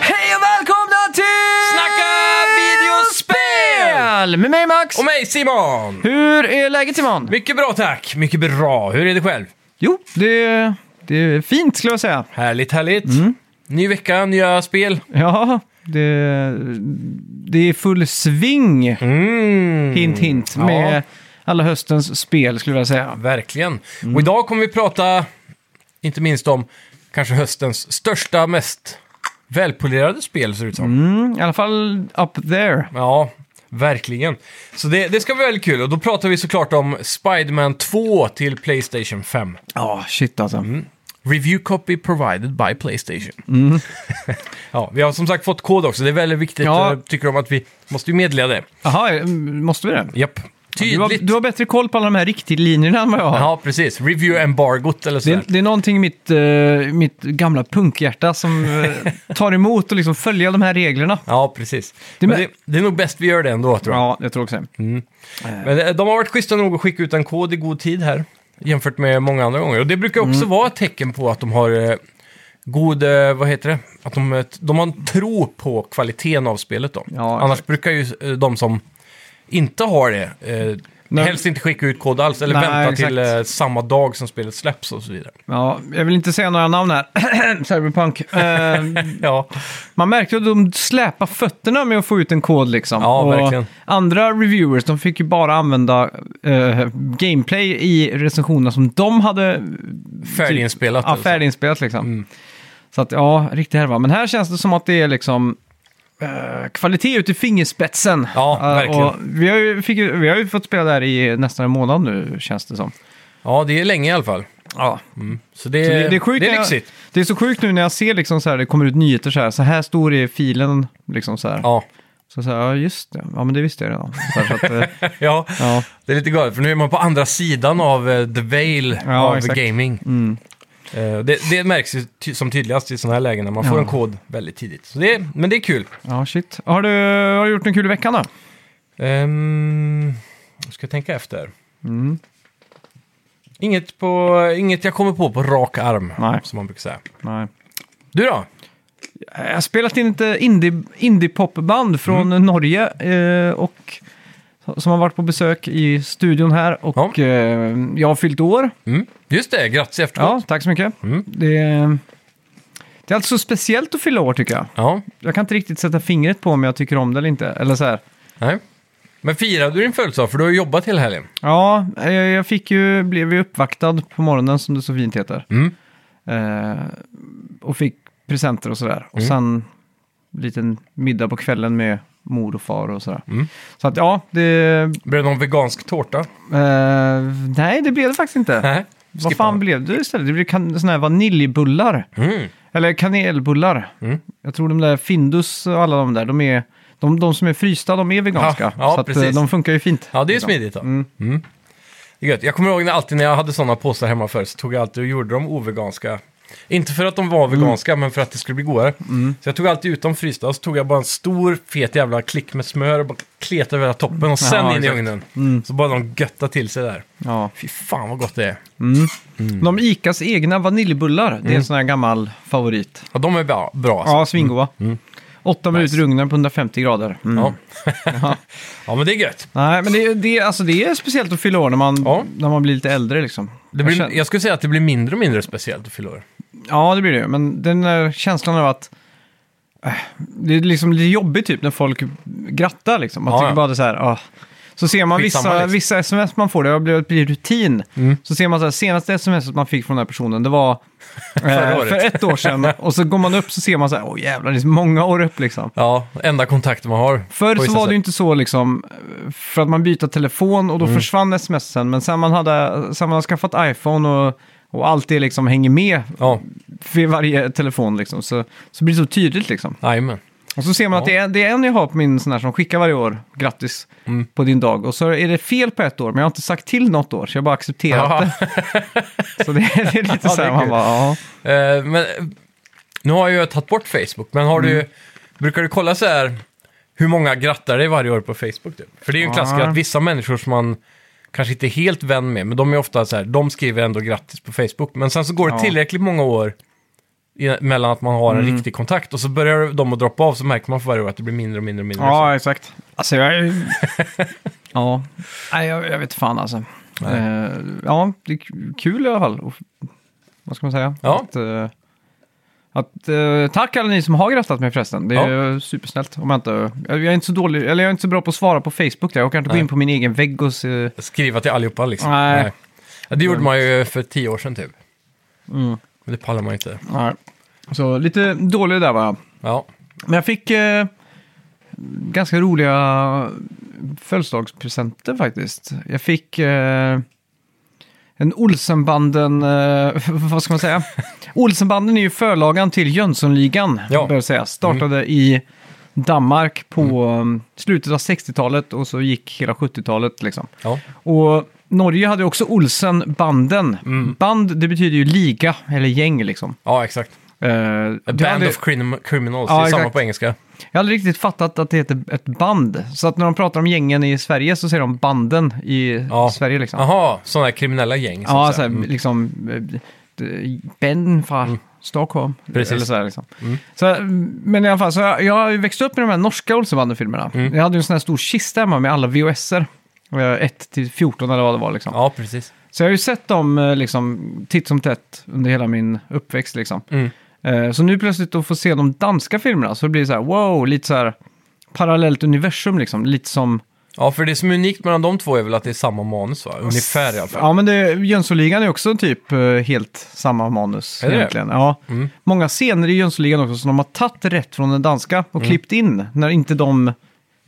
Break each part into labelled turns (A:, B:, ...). A: Hej och välkomna till
B: Snacka videospel!
A: Spel! Med mig Max!
B: Och mig Simon!
A: Hur är läget Simon?
B: Mycket bra tack, mycket bra. Hur är det själv?
A: Jo, det, det är fint skulle jag säga.
B: Härligt, härligt.
A: Mm.
B: Ny vecka, nya spel.
A: Ja, det, det är full sving,
B: Mm.
A: hint hint,
B: Ja.
A: med alla höstens spel skulle jag säga.
B: Verkligen.
A: Mm.
B: Och idag kommer vi prata, inte minst om kanske höstens största, mest välpolerade spel ser det ut som.
A: Mm, I alla fall up there.
B: Ja, verkligen. Så det, det ska bli väldigt kul. Och då pratar vi såklart om Spiderman 2 till Playstation 5.
A: Ja, shit alltså.
B: Review copy provided by Playstation. Mm. ja, vi har som sagt fått kod också. Det är väldigt viktigt.
A: Ja.
B: Jag tycker om att vi måste ju meddela det.
A: Jaha, mm, måste vi det?
B: Japp.
A: Du har,
B: Tydligt.
A: du har bättre koll på alla de här riktlinjerna än vad jag har.
B: Ja, precis. Review embargot eller
A: Det,
B: sådär.
A: är- det är någonting i mitt, eh, mitt gamla punkhjärta som eh, tar emot och liksom följer de här reglerna.
B: Ja, precis.
A: Det
B: Det,
A: med-
B: Men det, det är nog bäst vi gör det ändå, tror jag.
A: Ja, jag tror också det.
B: Men eh, de har varit schyssta nog att skicka ut en kod i god tid här, jämfört med många andra gånger. Och det brukar
A: Mm.
B: också vara ett tecken på att de har eh, god, eh, vad heter det, att de, eh, t- de har en tro på kvaliteten av spelet då.
A: Ja,
B: Annars brukar ju eh, de som inte har det, eh,
A: Nej.
B: helst inte skicka ut kod alls, eller
A: Nej,
B: vänta
A: exakt.
B: till eh, samma dag som spelet släpps och så vidare.
A: Ja, jag vill inte säga några namn här. Cyberpunk. Eh,
B: Ja,
A: man märkte att de släpade fötterna med att få ut en kod liksom.
B: Ja,
A: och
B: verkligen.
A: Andra reviewers, de fick ju bara använda eh, gameplay i recensionerna som de hade
B: färdiginspelat. alltså.
A: ja,
B: eller så.
A: färdiginspelat liksom.
B: Mm.
A: Så att, ja, riktigt härva. Men här känns det som att det är liksom eh, kvalitet ut i fingerspetsen.
B: Ja,
A: Eh,
B: verkligen.
A: och vi, har ju, fick, ju- vi har ju fått spela där i nästan en månad nu, känns det som.
B: Ja, det är länge i alla fall. Mm.
A: Ja,
B: Så det,
A: Så
B: är- det, är,
A: sjukt när
B: lyxigt.
A: Jag, det är så sjukt nu när jag ser liksom så här, det kommer ut nyheter så här, så här stor är filen, liksom så här.
B: Ja.
A: Så så här, ja just det, ja men det visste jag redan. Så här, så att, eh,
B: ja,
A: ja.
B: Det är lite galet, för nu är man på andra sidan av eh, the veil
A: Ja,
B: av
A: exakt. Mm.
B: gaming. Eh, det, det märks ju ty- som tydligast i sådana här lägen när man får
A: Ja.
B: en kod väldigt tidigt. Så det, är- men det är kul.
A: ja, shit. Har du, har du gjort en kul i veckan då?
B: Ehm, jag ska tänka efter.
A: Mm,
B: Inget, på, inget jag kommer på på rak arm,
A: Nej.
B: som man brukar säga.
A: Nej.
B: Du då?
A: Jag har spelat in ett eh, indie- indie-popband från
B: Mm.
A: Norge eh, och som har varit på besök i studion här och
B: Ja.
A: eh, jag har fyllt år.
B: Mm. Just det, grattis
A: Ja,
B: efteråt.
A: tack så mycket.
B: Mm.
A: Det, det är alltså speciellt att fylla år tycker jag.
B: Ja.
A: Jag kan inte riktigt sätta fingret på om jag tycker om det eller inte. Eller så här.
B: Nej. Men firade du din födelsedag? För du har ju jobbat hela helgen.
A: Ja, eh, jag fick ju, blev ju uppvaktad på morgonen som det så fint heter.
B: Mm.
A: Eh, och fick presenter och sådär. Och sen liten middag på kvällen med mor och far och sådär. Så att ja, det...
B: Blev det någon vegansk tårta?
A: Eh, nej, det blev det faktiskt inte.
B: Nej.
A: Vad fan blev det istället? Det blev kan, såna här vaniljbullar.
B: Mm.
A: Eller kanelbullar.
B: Mm.
A: Jag tror de där Findus och alla de där, de är... De, de som är frysta, de är veganska.
B: Ja, ja,
A: så att, eh,
B: precis.
A: de funkar ju fint.
B: Ja, det är ju
A: liksom.
B: smidigt då. Mm. Det är gött. Jag kommer ihåg när alltid när jag hade sådana påsar hemma förr så tog jag alltid och gjorde dem oveganska. Inte för att de var veganska,
A: Mm.
B: men för att det skulle bli godare. Så jag tog alltid ut dem frysta och så tog jag bara en stor fet jävla klick med smör och bara kletade över hela toppen och sen
A: Ja, Mm.
B: in i
A: exakt.
B: ugnen. Så bara de götta till sig där.
A: Ja.
B: Fy fan vad gott det är. Mm.
A: De Icas egna vaniljbullar, det är en sån här gammal favorit.
B: Ja, de är bra. bra alltså.
A: Ja, svingoda. Åtta minuter i ugnen på 150 grader. Mm.
B: ja. ja, men det är gött.
A: Nej, men det, det, alltså det är speciellt att fylla år när man,
B: Ja.
A: när man blir lite äldre. Liksom.
B: Det
A: jag
B: blir,
A: känner,
B: jag skulle säga att det blir mindre och mindre speciellt att fylla år.
A: Ja, det blir det ju. Men den där känslan av att äh, det är liksom lite jobbigt typ när folk grattar. Liksom. Man
B: Ja,
A: tycker
B: ja.
A: bara det är så här, ah, Så ser man vissa,
B: Skitsamma, liksom. Mm.
A: vissa sms man får, det har blivit en rutin. Så ser man så här, senaste sms man fick från den här personen, det var eh,
B: året.
A: för ett år sedan. Och så går man upp så ser man så här, åh jävlar, det är så många år upp liksom.
B: Ja, enda kontakten man har.
A: Förr så
B: på vissa
A: var det
B: sätt.
A: ju inte så liksom, för att man bytte telefon och då
B: Mm.
A: försvann smsen. Men sen man, hade, sen man har skaffat iPhone och, och allt det liksom hänger med
B: Ja,
A: vid varje telefon liksom, så, så blir det så tydligt liksom.
B: jajamän.
A: Och så ser man att det är, det är en jag har på min sån här som skickar varje år, grattis
B: Mm.
A: på din dag. Och så är det fel på ett år, men jag har inte sagt till något år, så jag har bara accepterat
B: Ja.
A: det. Så det, är- det är lite
B: Ja,
A: så här,
B: det är
A: man
B: kul.
A: bara, ja.
B: Eh, men, eh, nu har jag ju tagit bort Facebook, men har
A: Mm.
B: du, brukar du kolla så här hur många grattar dig varje år på Facebook? Typ? För det är ju en klassiker
A: Ja.
B: att vissa människor som man kanske inte är helt vän med, men de är ofta så här, de skriver ändå grattis på Facebook. Men sen så går det
A: Ja. Mm.
B: tillräckligt många år i, mellan att man har en riktig kontakt och så börjar de att droppa av så märker man för varje år att det blir mindre och mindre och mindre. Så-
A: Ja, exakt. Alltså jag är... ja, Nej, jag, jag vet fan alltså. Eh, ja, det är k- kul i alla fall. Och, vad ska man säga?
B: Ja.
A: Att, eh, att, eh, tack alla ni som har grattat mig förresten. Det är ju supersnällt. Om jag, inte, jag, jag är inte så dålig, eller jag är inte så bra på att svara på Facebook. Där. Jag kan inte gå
B: Nej.
A: in på min egen vägg och se...
B: skriva till allihopa liksom.
A: Nej.
B: Ja, det gjorde man ju för tio år sedan typ.
A: Mm.
B: Men det pallar man ju inte.
A: Nej. Så lite dålig där var jag.
B: Ja,
A: Men jag fick eh, ganska roliga födelsedagspresenter faktiskt. Jag fick eh, en Olsenbanden, eh, vad ska man säga? Olsenbanden är ju förlagan till Jönssonligan,
B: Ja. Mm.
A: bör sägas. Startade i Danmark på eh, slutet av 60-talet och så gick hela 70-talet liksom.
B: ja.
A: Och Norge hade ju också Olsenbanden.
B: Mm.
A: Band, det betyder ju liga eller gäng liksom.
B: ja exakt.
A: Eh,
B: A
A: det
B: band
A: hade-
B: of crim- criminals,
A: Ja,
B: det är samma
A: exakt.
B: på engelska.
A: Jag har aldrig riktigt fattat att det heter ett band. Så att när de pratar om gängen i Sverige så säger de banden i
B: Ja.
A: Sverige liksom.
B: Jaha, sådana här kriminella gäng. Så
A: ja,
B: att
A: så här,
B: säga. Mm.
A: liksom eh, d- Ben från Stockholm.
B: Precis. Mm.
A: Eller så här, liksom. så, här, men i alla fall, så jag, jag har ju växt upp med de här norska Olsenbanden-filmerna.
B: Mm.
A: Jag hade ju en sån här stor kista hemma med alla VHS-er. 1 Eh, till 14 eller vad det var liksom.
B: Ja, precis.
A: Så jag har ju sett dem eh, liksom, titt som tätt under hela min uppväxt. Liksom.
B: Mm.
A: Eh, Så nu plötsligt att få se de danska filmerna så blir det så här, wow, lite så här parallellt universum liksom. Lite som,
B: Ja, för det som är unikt mellan de två är väl att det är samma manus va? Ungefär i alla fall.
A: ja men det, Jönssonligan är också typ eh, helt samma manus
B: Är det Mm. det?
A: egentligen. Ja. Många scener i Jönssonligan också som de har tagit rätt från den danska
B: Mm.
A: och klippt in när inte de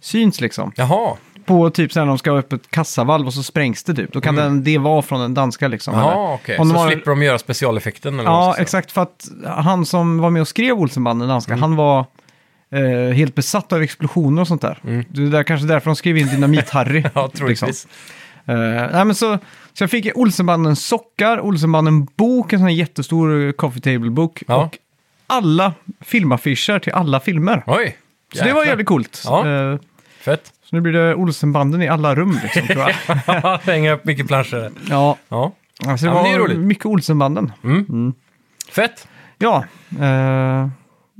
A: syns liksom.
B: Jaha,
A: På typ så här när de ska ha öppet kassavalv och så sprängs det typ. Då kan den, det vara från den danska liksom.
B: Jaha
A: eller-
B: Mm. Ah, okej.
A: Om
B: Så
A: de har-
B: slipper de göra specialeffekten eller vad
A: Ja,
B: man ska säga.
A: exakt. För att han som var med och skrev Olsenbanden, danska,
B: Mm.
A: han var eh, helt besatt av explosioner och sånt där. Det är där, kanske därför de skrev in Dynamit-Harry.
B: Mm. Ja, troligtvis.
A: Eh, nej, men så, så jag fick Olsenbanden sockar, Olsenbanden bok, en sån här jättestor eh, coffee table-bok.
B: Ja.
A: Och alla filmaffischer till alla filmer.
B: Oj!
A: Så det var
B: jäklar.
A: jävligt coolt.
B: Ja.
A: Eh,
B: Fett.
A: så nu blir det Olsenbanden i alla rum liksom, tror jag.
B: Hänga upp mycket planscher. där.
A: ja,
B: Ja.
A: alltså det
B: Ja, men det är
A: var
B: roligt.
A: mycket Olsenbanden.
B: Fett.
A: Ja, eh,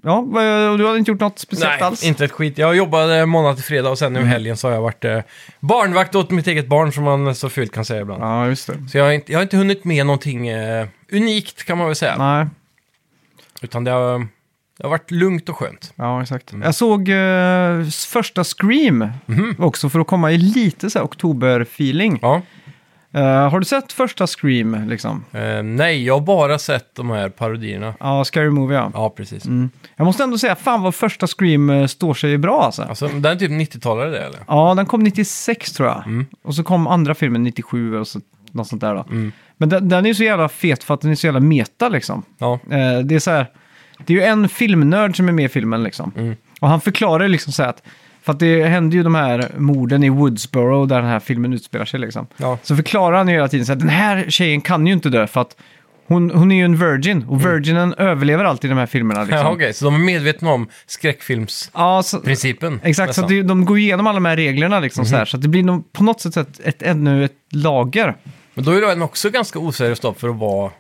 A: ja vad- och du hade inte gjort något speciellt
B: Nej,
A: alls? Mm.
B: inte ett skit. Jag jobbade måndag till fredag och sen nu i helgen så har jag varit eh, barnvakt åt mitt eget barn som man så fult kan säga ibland.
A: Ja, just det.
B: Så jag har, inte, jag har inte hunnit med någonting eh, unikt kan man väl säga.
A: Nej,
B: Utan det har, det har varit lugnt och skönt.
A: ja exakt.
B: Mm.
A: Jag såg eh, första Scream
B: Mhm.
A: också för att komma i lite så här oktober-feeling.
B: Ja.
A: Eh, har du sett första Scream liksom?
B: Eh, nej, jag har bara sett de här parodierna.
A: Ja, Scary Movie ja.
B: Ja, precis.
A: Jag måste ändå säga, fan vad första Scream eh, står sig bra alltså.
B: Alltså, den är typ 90-talare det, eller?
A: Ja, den kom 96 tror jag.
B: Mm.
A: Och så kom andra filmen 97 och så, något sånt där då.
B: Mm.
A: Men den, den är ju så jävla fet för att den är så jävla meta liksom.
B: Ja,
A: Eh, det är så här, det är ju en filmnörd som är med i filmen liksom.
B: Mm.
A: Och han förklarar liksom så här att, för att det händer ju de här morden i Woodsboro där den här filmen utspelar sig liksom.
B: Ja.
A: Så förklarar han ju hela tiden så att den här tjejen kan ju inte dö för att hon, hon är ju en virgin och virginen överlever alltid i de här filmerna liksom.
B: Mm. ja okej. Så de är medvetna om skräckfilmsprincipen.
A: Ja, så, exakt, så
B: nästan. Mhm.
A: att det, de går igenom alla de här reglerna liksom så här. Så att det blir nog på något sätt ett, ett, ännu ett lager.
B: Men då är den också ganska oseriös då för att vara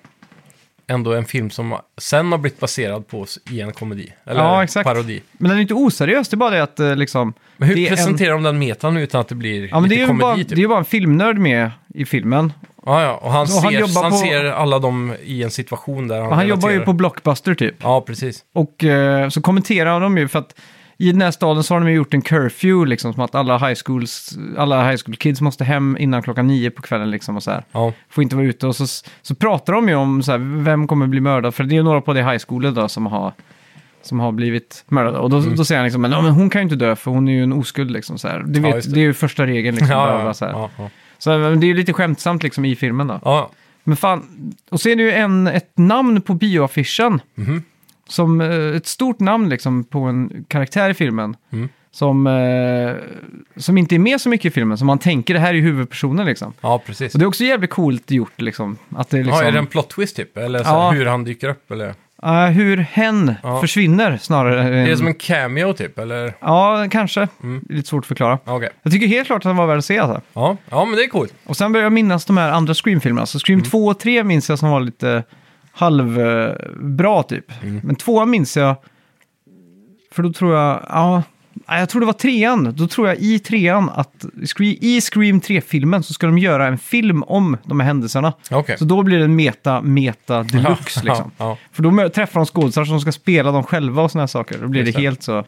B: ändå en film som sen har blivit baserad på s- i en komedi. Eller
A: Ja, exakt.
B: parodi.
A: Men den är inte oseriös, det är bara det att eh, liksom...
B: Men hur
A: det är en-
B: presenterar de den metan utan att det blir
A: Ja, men
B: lite
A: det är ju
B: komedi?
A: bara,
B: typ?
A: det är ju bara en filmnörd med i filmen.
B: Ja, ja. Och han,
A: Och han
B: ser,
A: jobbar
B: han,
A: på-
B: ser alla dem i en situation där han
A: Han jobbar ju
B: relaterar.
A: på Blockbuster typ.
B: Ja, precis.
A: Och eh, så kommenterar de ju för att i den här staden så har de ju gjort en curfew, liksom, som att alla high, schools, alla high school kids måste hem innan klockan nio på kvällen. Liksom, och så här.
B: Ja.
A: Får inte vara ute. Och så, så pratar de ju om så här, vem kommer bli mördad. För det är ju några på det high school då som har, som har blivit mördade. Och då,
B: Mm.
A: då säger han liksom, men, ja, men hon kan ju inte dö för hon är ju en oskuld. Liksom, så här. Du
B: Ja,
A: vet,
B: just
A: det.
B: det.
A: är ju första regeln. Liksom, bla, bla,
B: Ja,
A: bla,
B: ja,
A: så här.
B: ja, ja.
A: Så men det är ju lite skämtsamt liksom, i filmen. Då.
B: ja.
A: Men fan, och så är det ju en, ett namn på bioaffischen.
B: Mhm.
A: Som eh, ett stort namn liksom på en karaktär i filmen.
B: Mm.
A: Som, eh, som inte är med så mycket i filmen, som man tänker det här är ju huvudpersonen liksom.
B: ja precis.
A: Och det är också jävligt coolt gjort liksom. Att det är liksom,
B: Ja, är det en plot twist typ? Eller så här,
A: Ja.
B: hur han dyker upp? Eller?
A: eh, hur hen
B: Ja.
A: försvinner snarare. än-
B: Är det som en Mm. cameo typ? Eller?
A: Ja, kanske. Det är lite svårt att förklara.
B: Ja, okej.
A: Jag tycker helt klart att den var värd att se alltså.
B: Ja. ja, men det är coolt.
A: Och sen börjar jag minnas de här andra Scream-filmerna. Så
B: Mm.
A: Scream 2 och 3 minns jag som var lite halvbra typ.
B: Mm.
A: Men 2 minns jag, för då tror jag, ja, nej, jag tror det var trean. Då tror jag i trean att Scre- i Scream 3-filmen så ska de göra en film om de här händelserna.
B: Okej.
A: Så då blir det en meta, meta deluxe liksom.
B: Ja,
A: För då mö- träffar de skådisar som ska spela dem själva och såna här saker. Då blir
B: Just
A: det
B: det.
A: helt så.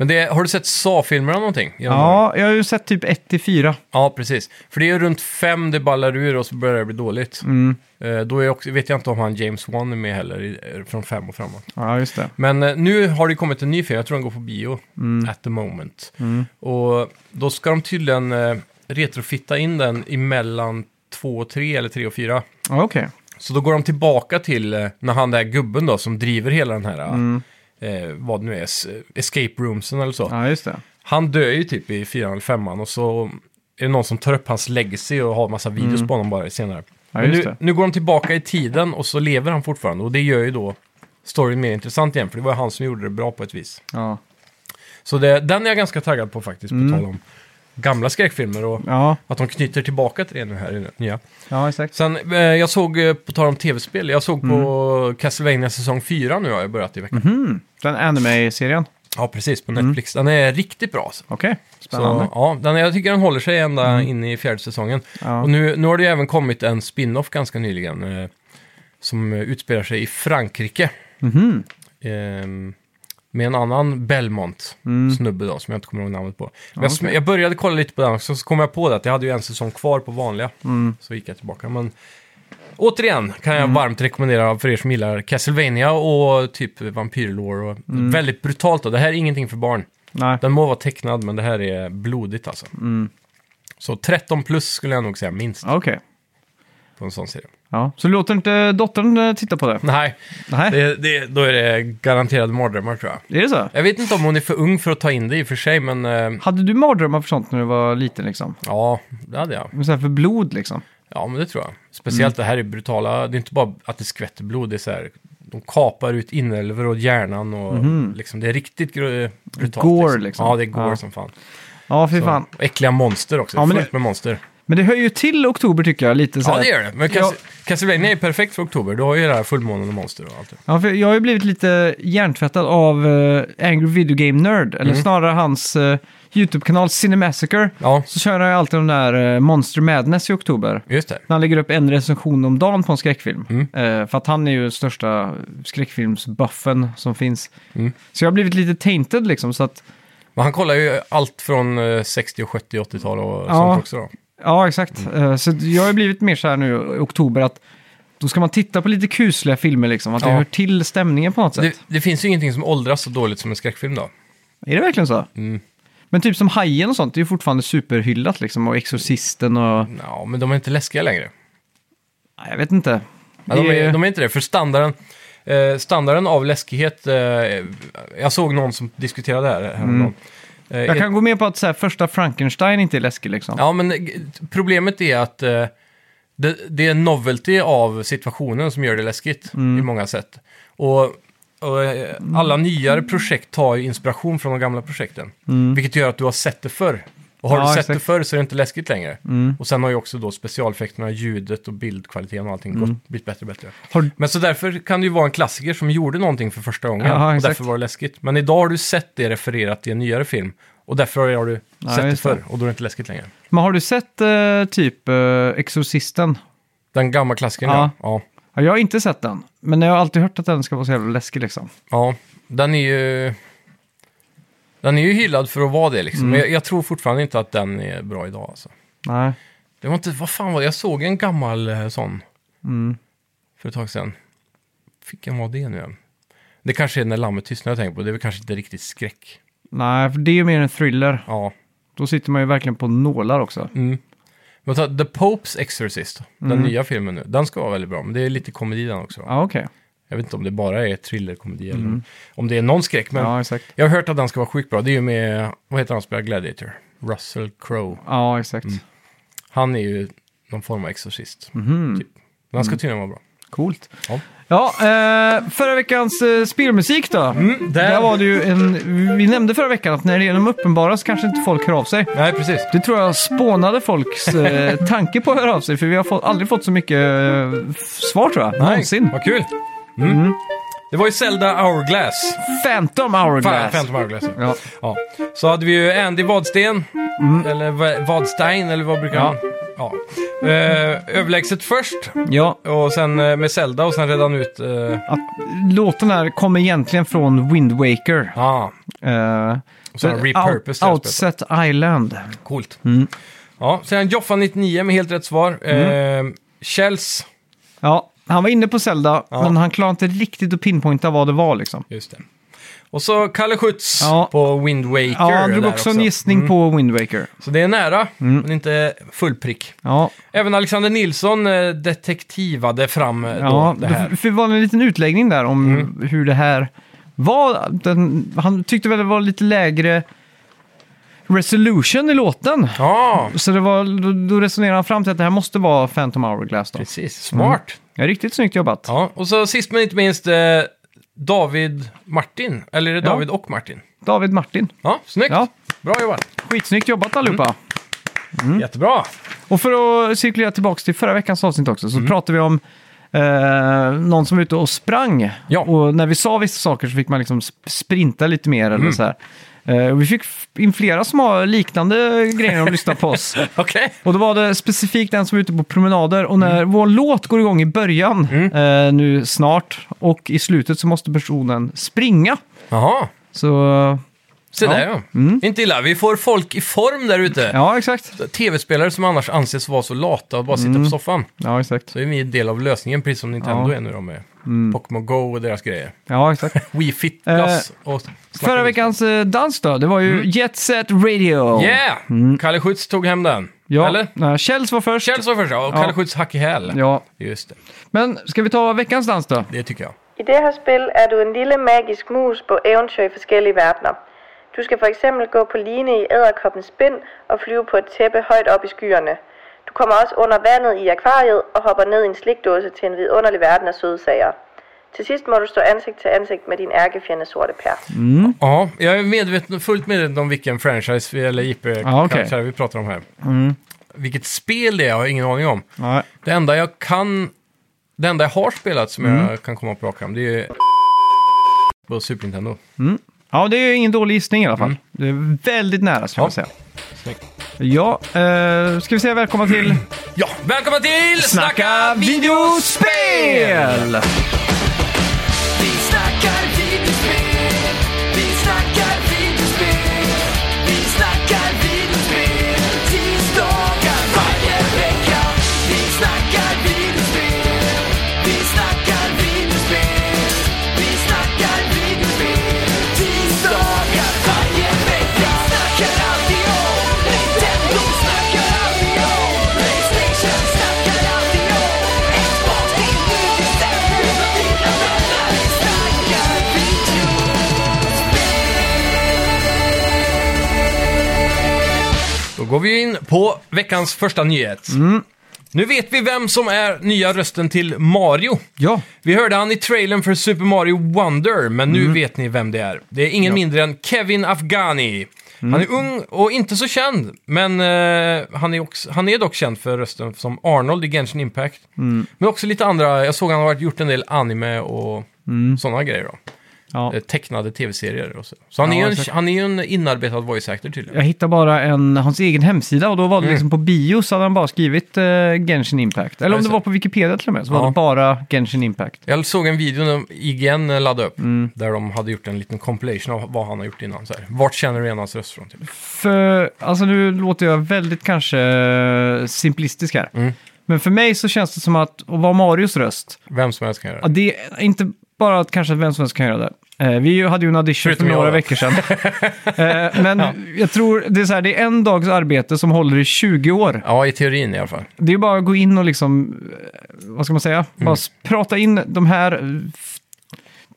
B: Men det, har du sett Saw-filmer eller någonting? genom åren?
A: Ja, jag har ju sett typ 1-4.
B: ja, precis. För det är ju runt fem det ballar ur och så börjar det bli dåligt.
A: Mm.
B: Eh, då är jag också, vet jag inte om han James Wan är med heller, i- eh, från fem och framåt.
A: Ja, just det.
B: Men eh, nu har det kommit en ny film, jag tror den går på bio,
A: Mm.
B: at the moment. Och då ska de tydligen eh, retrofitta in den emellan två och tre, eller tre och fyra.
A: Ja, okej.
B: Så då går de tillbaka till eh, när han där gubben då som driver hela den här,
A: Mm.
B: eh, vad det nu är, s- escape roomsen eller så.
A: Ja, just det.
B: Han dör ju typ i fyran eller femman och så är det någon som tar upp hans legacy och har massa videos på honom bara senare.
A: Mm. Ja,
B: Men
A: just
B: nu,
A: det.
B: nu går de tillbaka i tiden och så lever han fortfarande och det gör ju då storyn mer intressant igen för det var han som gjorde det bra på ett vis.
A: Ja.
B: Så det, den är jag ganska taggad på faktiskt, på
A: Mm.
B: tal om gamla skräckfilmer och
A: Ja,
B: att de knyter tillbaka till det nu här i den nya.
A: ja exakt.
B: Sen, eh, jag såg, eh, på tal om tv-spel, jag såg
A: Mm.
B: på Castlevania säsong 4 nu har jag börjat i veckan.
A: Den anime-serien.
B: Ja, precis, på Netflix. Den är riktigt bra alltså.
A: Okej, Mm. spännande. Mm.
B: Så, ja, den, jag tycker den håller sig ända in i fjärde säsongen.
A: Ja.
B: Och nu, nu har det ju även kommit en spin-off ganska nyligen eh, som eh, utspelar sig i Frankrike.
A: Mhm.
B: Ehm, med en annan Belmont-snubbe då, som jag inte kommer ihåg namnet på. Men jag,
A: okej.
B: jag började kolla lite på den också, så kom jag på det att jag hade ju en säsong kvar på vanliga. Så gick jag tillbaka. Men återigen kan jag varmt rekommendera för er som gillar Castlevania och typ vampyrlore. Och, Väldigt brutalt då, det här är ingenting för barn.
A: Nej.
B: Den må vara tecknad, men det här är blodigt alltså. Så 13 plus skulle jag nog säga minst
A: Mm. Okej.
B: på en sån serie.
A: Ja. Så låter inte dottern eh, titta på det?
B: Nej,
A: Nej,
B: det, det, då är det garanterade mardrömmar tror jag.
A: är det så?
B: Jag vet inte om hon är för ung för att ta in det i och för sig, men eh,
A: Hade du mardrömmar för sånt när du var liten liksom?
B: ja, det hade jag.
A: Men Så här för blod liksom?
B: Ja, men det tror jag. Speciellt
A: Mm.
B: det här är brutala, det är inte bara att det skvätter blod, det är så här, de kapar ut inälvor och hjärnan och liksom, det är riktigt gru- brutalt.
A: Gore, Mhm. liksom.
B: Ja, det är gore
A: Ja.
B: som fan.
A: Ja, fy
B: Så-
A: fan.
B: Och äckliga monster också,
A: Ja, men det-
B: fullt med monster.
A: Men det hör ju till oktober tycker jag, lite så
B: Ja,
A: här.
B: det gör det. Men Cas-
A: Ja.
B: Castlevania är perfekt för oktober. Du har ju det här fullmånen och monster och allt. det.
A: Ja, för jag har ju blivit lite hjärntvättad av eh, Angry Video Game Nerd, eller snarare hans eh, YouTube-kanal Cinemassacre.
B: Ja,
A: Så kör han ju alltid den där eh, Monster Madness i oktober.
B: just det.
A: När han lägger upp en recension om dagen på en skräckfilm.
B: Mm.
A: Eh, för att han är ju största skräckfilmsbuffen som finns.
B: Mm.
A: Så jag har blivit lite tainted liksom. Så att,
B: Men han kollar ju allt från eh, 60-, och 70-, och 80-tal och
A: Ja.
B: sånt också då.
A: ja, exakt.
B: Mm.
A: Eh, så att jag har blivit mer så här nu i oktober att då ska man titta på lite kusliga filmer liksom. Att det
B: Ja.
A: hör till stämningen på något sätt.
B: Det, det finns ju ingenting som åldras så dåligt som en skräckfilm då.
A: Är det verkligen så?
B: Mm.
A: Men typ som Hajen och sånt, det är ju fortfarande superhyllat liksom. Och Exorcisten och...
B: Ja, men de är inte läskiga längre.
A: Nej, Jag vet inte.
B: Ja, de,
A: Det
B: är,
A: är-
B: de är inte det, för standarden, eh, standarden av läskighet... Eh, jag såg någon som diskuterade det här häromdagen. Eh,
A: Mm. Jag
B: är-
A: kan gå med på att så här, första Frankenstein inte är läskig liksom.
B: Ja, men eh, g- problemet är att eh, det, det är novelty av situationen som gör det läskigt
A: Mm.
B: i många sätt. Och, och eh, alla nyare projekt tar ju inspiration från de gamla projekten. Vilket gör att du har sett det förr. Och har
A: Mm. Ja,
B: du sett
A: exakt. Mm.
B: det förr så är det inte läskigt längre. Och sen har ju också då specialeffekterna, ljudet och bildkvaliteten och allting
A: Mm.
B: gått, blivit bättre och bättre.
A: Har-
B: Men så därför kan det ju vara en klassiker som gjorde någonting för första gången.
A: Ja,
B: och
A: exakt.
B: därför var det läskigt. Men idag har du sett det refererat i en nyare film. Och därför har du
A: Ja,
B: sett det
A: just det.
B: förr. Och då är det inte läskigt längre.
A: Men har du sett eh, typ eh, Exorcisten?
B: Den gamla klassikern, ja.
A: Ja.
B: ja.
A: Ja, jag har inte sett den, men jag har alltid hört att den ska vara så jävla läskig liksom.
B: Ja, den är ju... Den Den är ju hyllad för att vara det
A: Mm.
B: liksom. Men jag, jag tror fortfarande inte att den är bra idag alltså.
A: Nej.
B: Det var inte, vad fan var det? Jag såg en gammal eh, sån
A: Mm.
B: för ett tag sedan. Vilken var det nu igen? Det kanske är När lammet tystnar jag tänker på. Det är väl kanske inte riktigt skräck.
A: Nej, för det är ju mer en thriller.
B: Ja.
A: Då sitter man ju verkligen på nålar också.
B: Mm. Men ta The Popes Exorcist, den
A: Mm.
B: nya filmen nu. Den ska vara väldigt bra, men det är lite komedi den också.
A: Ja, okej.
B: Jag vet inte om det bara är thrillerkomedi eller om det är någon skräck. Men
A: Mm. Ja, exakt.
B: jag har hört att den ska vara sjukt bra. Det är ju med, vad heter han som spelar Gladiator? Russell Crowe.
A: Ja, exakt.
B: Han är ju någon form av exorcist.
A: Mhm.
B: Den ska tydligen vara bra.
A: Coolt.
B: Ja.
A: Ja, eh, förra veckans eh, spelmusik då. Där var Mm. det ju en... Vi nämnde förra veckan att när det är de uppenbara så kanske inte folk hör av sig.
B: Nej, precis.
A: Det tror jag spånade folks eh, tanke på att höra av sig, för vi har fått, aldrig fått så mycket eh, f- svar tror jag. Någonsin.
B: Vad kul. Mm. Det var ju Zelda Hourglass.
A: Phantom Hourglass.
B: Fan, Phantom Hourglass. Ja.
A: Ja.
B: Ja. Så hade vi ju Andy Vadsten, eller Va- Vadstein, eller vad brukar
A: Mm. Ja.
B: han? Ja. Eh, överlägset först,
A: ja,
B: och sen eh, med Zelda, och sen redan ut... Eh,
A: att låten här kommer egentligen från Wind Waker.
B: ja,
A: Eh,
B: ah, och sen
A: out- Mm.
B: repurpose det här spelet.
A: Outset Island.
B: Coolt. Ja, sen Joffa99 med helt rätt svar.
A: Mm.
B: Eh, Kjells,
A: Ja, han var inne på Zelda,
B: Ja.
A: men han klarade inte riktigt att pinpointa vad det var liksom.
B: just det. Och så Kalle Schütz
A: Ja.
B: på Wind Waker.
A: Ja, han drog
B: där Mm.
A: också, Mm. en gissning på Wind Waker.
B: Så det är nära, men inte full prick.
A: Ja,
B: Även Alexander Nilsson eh, detektivade fram eh, då,
A: ja
B: det här. Mm.
A: det för det var en liten utläggning där om hur det här var. Den, han tyckte väl det var lite lägre resolution i låten.
B: Ja,
A: Så det var, då, då resonerade han fram till att det här måste vara Phantom Hourglass då.
B: precis. Smart.
A: Ja, riktigt snyggt jobbat.
B: Mm. Ja, och så sist men inte minst eh, David Martin. Eller är det
A: Ja.
B: David och Martin?
A: David Martin.
B: Ja, snyggt.
A: Ja.
B: Bra jobbat.
A: Skitsnyggt jobbat allihopa. Mm.
B: Jättebra.
A: Och för att cirkulera tillbaka till förra veckans avsnitt också så pratade vi om eh, någon som var ute och sprang.
B: Ja.
A: Och när vi sa vissa saker så fick man liksom sp- sprinta lite mer eller så här. Eh, och vi fick f- in flera som har liknande grejer de lyssnar på oss.
B: Okej.
A: Och då var det specifikt den som var ute på promenader och när vår låt går igång i början eh, nu snart och i slutet så måste personen springa.
B: Jaha,
A: Så
B: se där ja. Inte illa. Vi får folk i form där ute.
A: Mm. ja, exakt.
B: Tv-spelare som annars anses vara så lata och bara sitta på soffan.
A: Ja, exakt.
B: Så är vi en del av lösningen, precis som Nintendo
A: Ja. Mm.
B: är nu då med Pokémon Go och deras grejer.
A: Ja, exakt.
B: Wii Fit Plus och...
A: Eh, Förra veckans eh, dans då, det var ju Jet Set Radio.
B: Mm. Yeah! Kalle Schütz tog hem den.
A: Mm. Ja,
B: Eller?
A: nej, Kjells var först.
B: Kjell sa först, ja. Och
A: Ja.
B: Kalle Schütz hack i häl.
A: Ja.
B: Just det.
A: Men ska vi ta veckans dans då?
B: Det tycker jag.
C: I det her spil er du en lille magisk mus på eventyr i forskellige verdener. Du skal for eksempel gå på line i æderkoppens spind og flyve på et tæppe højt op i skyerne. Du kommer også under vandet i akvariet og hopper ned i en slikdåse til en vidunderlig verden af søde sager. Til sidst må du stå ansigt til ansigt med din ærkefjende sorte pær.
B: Ja, jag är medveten, fullt medveten om vilken franchise vi, eller IP
A: Ja, okej. Mm.
B: karaktär vi pratar om här. Vilket spel det är har jag ingen aning om.
A: Nej.
B: Det enda jag kan... Det enda jag har spelat som
A: Mm.
B: jag kan komma på rak arm, det är ju... På Super Nintendo.
A: Ja, det är ju ingen dålig gissning i alla fall. Det är väldigt nära skulle
B: Mm. Ja.
A: jag säga.
B: Snyggt.
A: Ja, eh, ska vi säga välkomna till
B: Ja, välkomna till
A: Snacka videospel!
D: Vi snackar videospel, vi snackar videospel, vi snackar videospel tisdagar varje vecka. Vi snackar videospel, vi snackar videospel, vi snackar videospel tisdagar varje vecka. Snackar alltid om Nintendo, snackar alltid om Playstation, snackar alltid om Xbox, Nintendo, Nintendo, Nintendo, snackar video.
B: Då går vi in på veckans första nyhet.
A: Mm.
B: Nu vet vi vem som är nya rösten till Mario.
A: Ja,
B: Vi hörde han i trailern för Super Mario Wonder, men
A: Mm.
B: nu vet ni vem det är. Det är ingen mindre än Kevin Afghani.
A: Mm.
B: Han är ung och inte så känd, men eh, han, är också, han är dock känd för rösten som Arnold i Genshin
A: Mm. Mm.
B: Impact. Men också lite andra, jag såg han har varit- gjort en del anime och sådana grejer då.
A: Ja.
B: eh, tecknade tv-serier och så. Så han,
A: Ja,
B: är ju
A: exakt.
B: en, han är ju en inarbetad voice actor tydligen.
A: Jag hittade bara en, hans egen hemsida och då
B: Mm.
A: var det liksom på bio så hade han bara skrivit eh, Genshin Impact. Eller
B: Ja,
A: om det
B: just
A: var på Wikipedia till och med så var
B: Ja.
A: det bara Genshin Impact.
B: Jag såg en video när IGN laddade upp,
A: Mm.
B: där de hade gjort en liten compilation av vad han har gjort innan. Så här. Vart känner du igen hans röst från? Typ.
A: För, alltså nu låter jag väldigt kanske eh, simplistisk här.
B: Mm.
A: Men för mig så känns det som att, att vara Marios röst,
B: Vem som helst kan göra
A: ja,
B: det.
A: det är inte bara att kanske vem som helst kan göra det. Eh, vi hade ju en audition
B: Förutom
A: för
B: jag
A: några
B: då.
A: veckor sedan. eh, men jag tror det är, så här, det är en dags arbete som håller i 20 år.
B: Ja, i teorin i alla fall.
A: Det är ju bara att gå in och liksom, eh, vad ska man säga,
B: Mm.
A: bara s- prata in de här eh, f-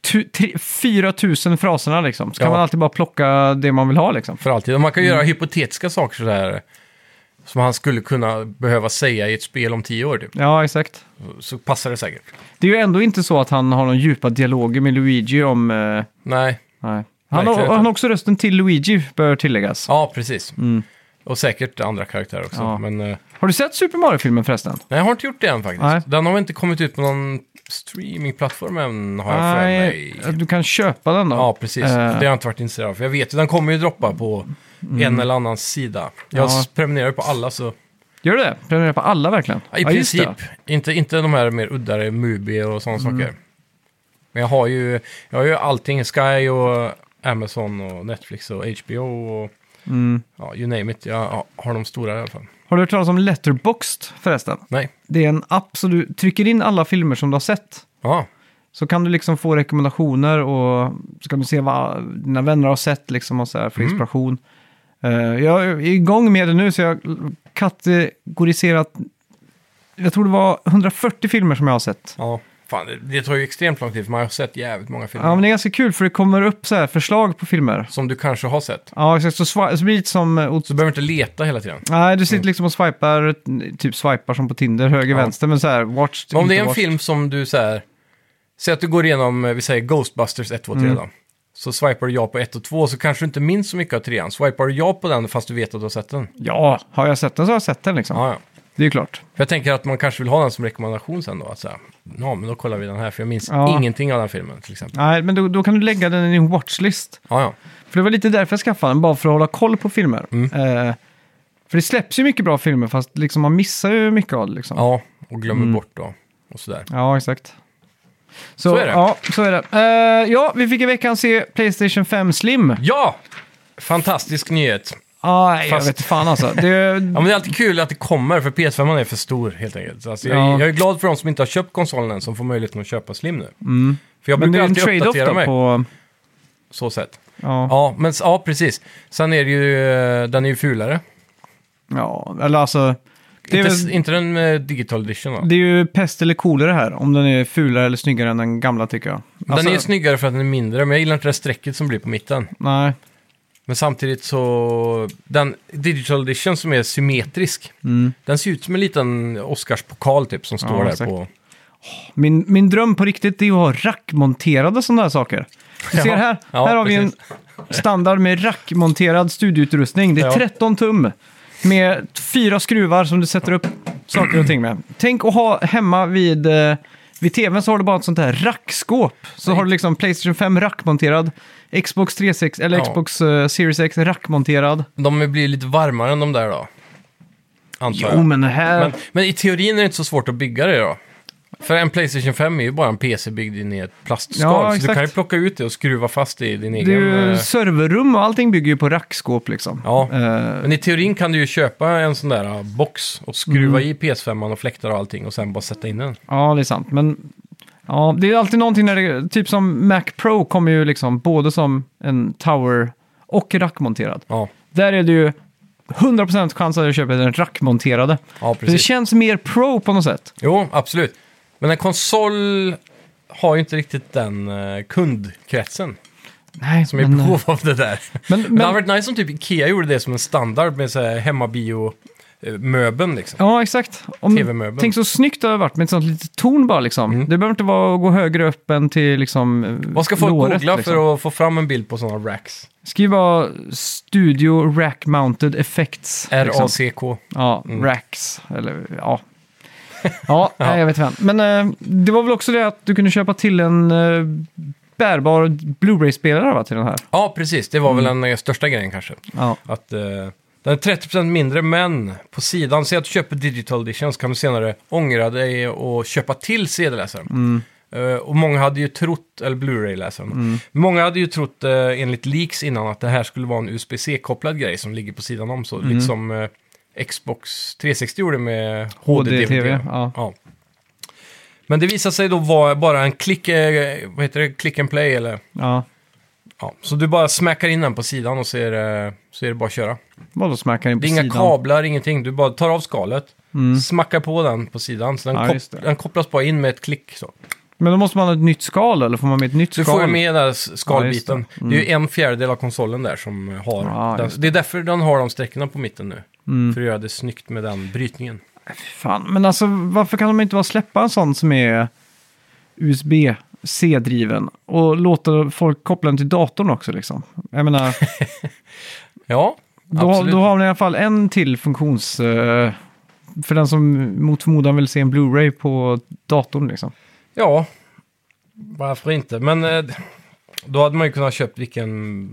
A: tu, tre, 4 000 fraserna liksom. Så kan
B: Ja.
A: man alltid bara plocka det man vill ha liksom.
B: För alltid. Och man kan ju göra hypotetiska saker sådär. Som han skulle kunna behöva säga i ett spel om tio år typ.
A: Ja, exakt.
B: Så passar det säkert.
A: Det är ju ändå inte så att han har någon djupa dialoger med Luigi om... eh,
B: Nej,
A: nej. Han, har,
B: Verkligen inte.
A: han har också rösten till Luigi, bör tilläggas.
B: ja precis. Och säkert andra karaktärer också.
A: Mm. Ja.
B: Men eh,
A: Har du sett Super Mario-filmen förresten?
B: nej, jag har inte gjort det än faktiskt.
A: Nej.
B: Den har väl inte kommit ut på någon streamingplattform än har jag för mig.
A: eh, du kan köpa den då.
B: Ja, precis.
A: Eh,
B: Det har jag inte varit intresserad av. För jag vet ju, den kommer ju droppa på en eller annan sida. Jag
A: Mm. Ja.
B: prenumererar ju på alla så...
A: Gör du det? Prenumerera på alla verkligen?
B: Ja, I
A: Ja, just det. Mm.
B: princip. Inte, inte de här mer uddare, Mubi och sådana saker. Men jag har ju, jag har ju allting. Sky och Amazon och Netflix och HBO och
A: Mm.
B: ja, you name it. Jag har de stora i alla fall.
A: Har du hört talas om Letterboxd förresten?
B: Nej.
A: Det är en app så du trycker in alla filmer som du har sett.
B: Ja,
A: Så kan du liksom få rekommendationer och så kan du se vad dina vänner har sett liksom och så här
B: Mm.
A: för inspiration. Eh, jag är igång med det nu så jag har kategoriserat, jag tror det var 140 filmer som jag har sett.
B: ja. Fan, det, det tar ju extremt lång tid för man har sett jävligt många filmer.
A: Ja men det är ganska kul för det kommer upp så här förslag på filmer. Ja
B: Som du kanske har sett.
A: exakt, så, swi- så blir det lite som... eh,
B: Så du behöver inte leta hela tiden.
A: Nej, du sitter liksom och swipar, typ swipar som på Tinder, höger,
B: Mm. Ja.
A: vänster, men så här, watched,
B: Men om det är
A: inte
B: en
A: watched.
B: film som du så här, säg att du går igenom, eh, vi säger Ghostbusters 1, 2, 3 då. Så swipar du ja på 1 och 2 så kanske du inte minns så mycket av 3 Swipar du ja på den fast du vet att du har sett den?
A: Ja, har jag sett den så har jag sett den liksom.
B: Ja, ja.
A: Det är ju klart.
B: För jag tänker att man kanske vill ha den som rekommendation sen då. Att säga, ja men då kollar vi den här för jag minns
A: Ja.
B: ingenting av den filmen till exempel.
A: Nej, men då, då kan du lägga den i din watchlist.
B: Ja, ja.
A: För det var lite därför jag skaffade den, bara för att hålla koll på filmer.
B: Mm.
A: Eh, för det släpps ju mycket bra filmer, fast liksom man missar ju mycket av det. Liksom.
B: ja och glömmer bort då. Och sådär.
A: Ja, exakt. Så,
B: Så är det.
A: Ja, så är det. Eh, ja, vi fick i veckan se Playstation 5 Slim.
B: Ja! Fantastisk nyhet.
A: Aj,
B: Fast-
A: Jag vet fan alltså. Det,
B: Ja, men det är alltid kul att det kommer, för PS5 är för stor helt enkelt. Alltså, jag,
A: Ja.
B: jag är glad för de som inte har köpt konsolen än, som får möjligheten att köpa Slim nu. För jag
A: Mm. men det
B: brukar
A: är en
B: alltid
A: trade-off
B: uppdatera
A: då
B: mig, på...
A: på...
B: så sätt.
A: Ja,
B: Ja, men, s- ja, precis. Sen är det ju, eh, den är ju fulare.
A: ja, eller alltså... Det är,
B: Inte, s-
A: väl,
B: inte den eh, digital edition va?
A: det är ju pest eller kolera här, om den är fulare eller snyggare än den gamla tycker jag. Alltså,
B: Den är ju snyggare för att den är mindre, men jag gillar inte det här strecket som blir på mitten.
A: Nej,
B: Men samtidigt så, den digital edition som är symmetrisk, den ser ut som en liten Oscarspokal typ som står
A: Mm. Ja,
B: där
A: exakt.
B: på.
A: Min, min dröm på riktigt det är att ha rackmonterade sådana här saker. Du
B: Ja,
A: ser här,
B: ja,
A: här har vi en
B: precis.
A: standard med rackmonterad studioutrustning. Det är
B: Ja.
A: 13 tum med fyra skruvar som du sätter upp saker och ting med. Tänk att ha hemma vid, eh, vid tvn så har du bara ett sånt här rackskåp. Så har du liksom Playstation 5 rackmonterad, Xbox 360 eller
B: Ja.
A: Xbox eh, Series X rackmonterad.
B: De blir lite varmare än de där då. Antar
A: Jo,
B: jag.
A: men det här...
B: Men, men i teorin är det inte så svårt att bygga det då. För en Playstation 5 är ju bara en PC byggd in i ett plastskal.
A: Ja,
B: så du
A: exakt.
B: kan ju plocka ut det och skruva fast det i din
A: det är
B: egen...
A: ju
B: eh,
A: serverrum och allting bygger ju på rackskåp liksom.
B: Ja,
A: Eh,
B: men i teorin kan du ju köpa en sån där eh, box och skruva
A: Mm.
B: i PS5 och fläktar och allting och sen bara sätta in den.
A: Ja, det är sant. Men ja, det är alltid någonting när det, typ som Mac Pro kommer ju liksom både som en tower och rackmonterad.
B: Ja,
A: Där är det ju 100% chans att jag köper den rackmonterade.
B: ja
A: För det
B: precis.
A: känns mer pro på något sätt.
B: Jo, absolut. Men en konsol har ju inte riktigt den eh, kundkretsen
A: Nej,
B: som är i
A: men, eh,
B: behov av det där.
A: Men,
B: Men, det hade
A: men,
B: varit nice om typ Ikea gjorde det som en standard med så här hemmabio-möbeln liksom.
A: ja, exakt. Om,
B: TV-möbeln.
A: tänk så snyggt det hade varit med ett sånt litet torn bara liksom. Det behöver inte vara att gå högre upp än till liksom eh,
B: Mm. Vad ska folk
A: låret,
B: googla
A: liksom.
B: för att få fram en bild på sådana racks?
A: Skriv bara Studio Rack Mounted Effects. liksom.
B: R-A-C-K.
A: Ja,
B: Mm.
A: racks. Eller ja. Ja, nej, jag vet inte. Men eh, det var väl också det att du kunde köpa till en eh, bärbar Blu-ray-spelare va, till den här?
B: Ja, precis. Det var väl
A: Mm.
B: den eh, största grejen kanske.
A: Ja.
B: Att, eh, den är 30% mindre, men på sidan, säg att du köper digital edition så kan du senare ångra dig och köpa till CD-läsaren. Eh, och många hade ju trott, eller Blu-ray-läsaren, många hade ju trott eh, enligt leaks innan att det här skulle vara en USB-C-kopplad grej som ligger på sidan om. Så lite som eh, Xbox 360 gjorde med HD-DVD.
A: HD-TV, ja.
B: Men det visade sig då vara bara en klick, eh, vad heter det, click and play eller
A: ja.
B: Ja, så du bara smackar in den på sidan och så är det, så är det bara att köra.
A: Vadå smackar in på
B: Det är inga
A: sidan? Mm.
B: kablar, ingenting. Du bara tar av skalet, smackar på den på sidan. Så den,
A: Ja,
B: kop-
A: just det.
B: den kopplas bara in med ett klick. Så.
A: Men då måste man ha ett nytt skal eller får man med ett nytt
B: Du
A: skal?
B: får ju med den här s-
A: Ja,
B: skalbiten.
A: just Mm.
B: det. är ju en fjärdedel av konsolen där som har
A: Ja,
B: den.
A: just Mm.
B: Det är därför den har de sträckorna på mitten nu. För att göra det snyggt med den brytningen.
A: Fan, men alltså varför kan de inte bara släppa en sån som är USB-C-driven och låta folk koppla den till datorn också liksom? Jag menar,
B: Ja,
A: då,
B: absolut.
A: då har man i alla fall en till funktions... eh, för den som mot förmodan vill se en Blu-ray på datorn liksom.
B: Ja, varför inte? Men eh, då hade man ju kunnat köpt vilken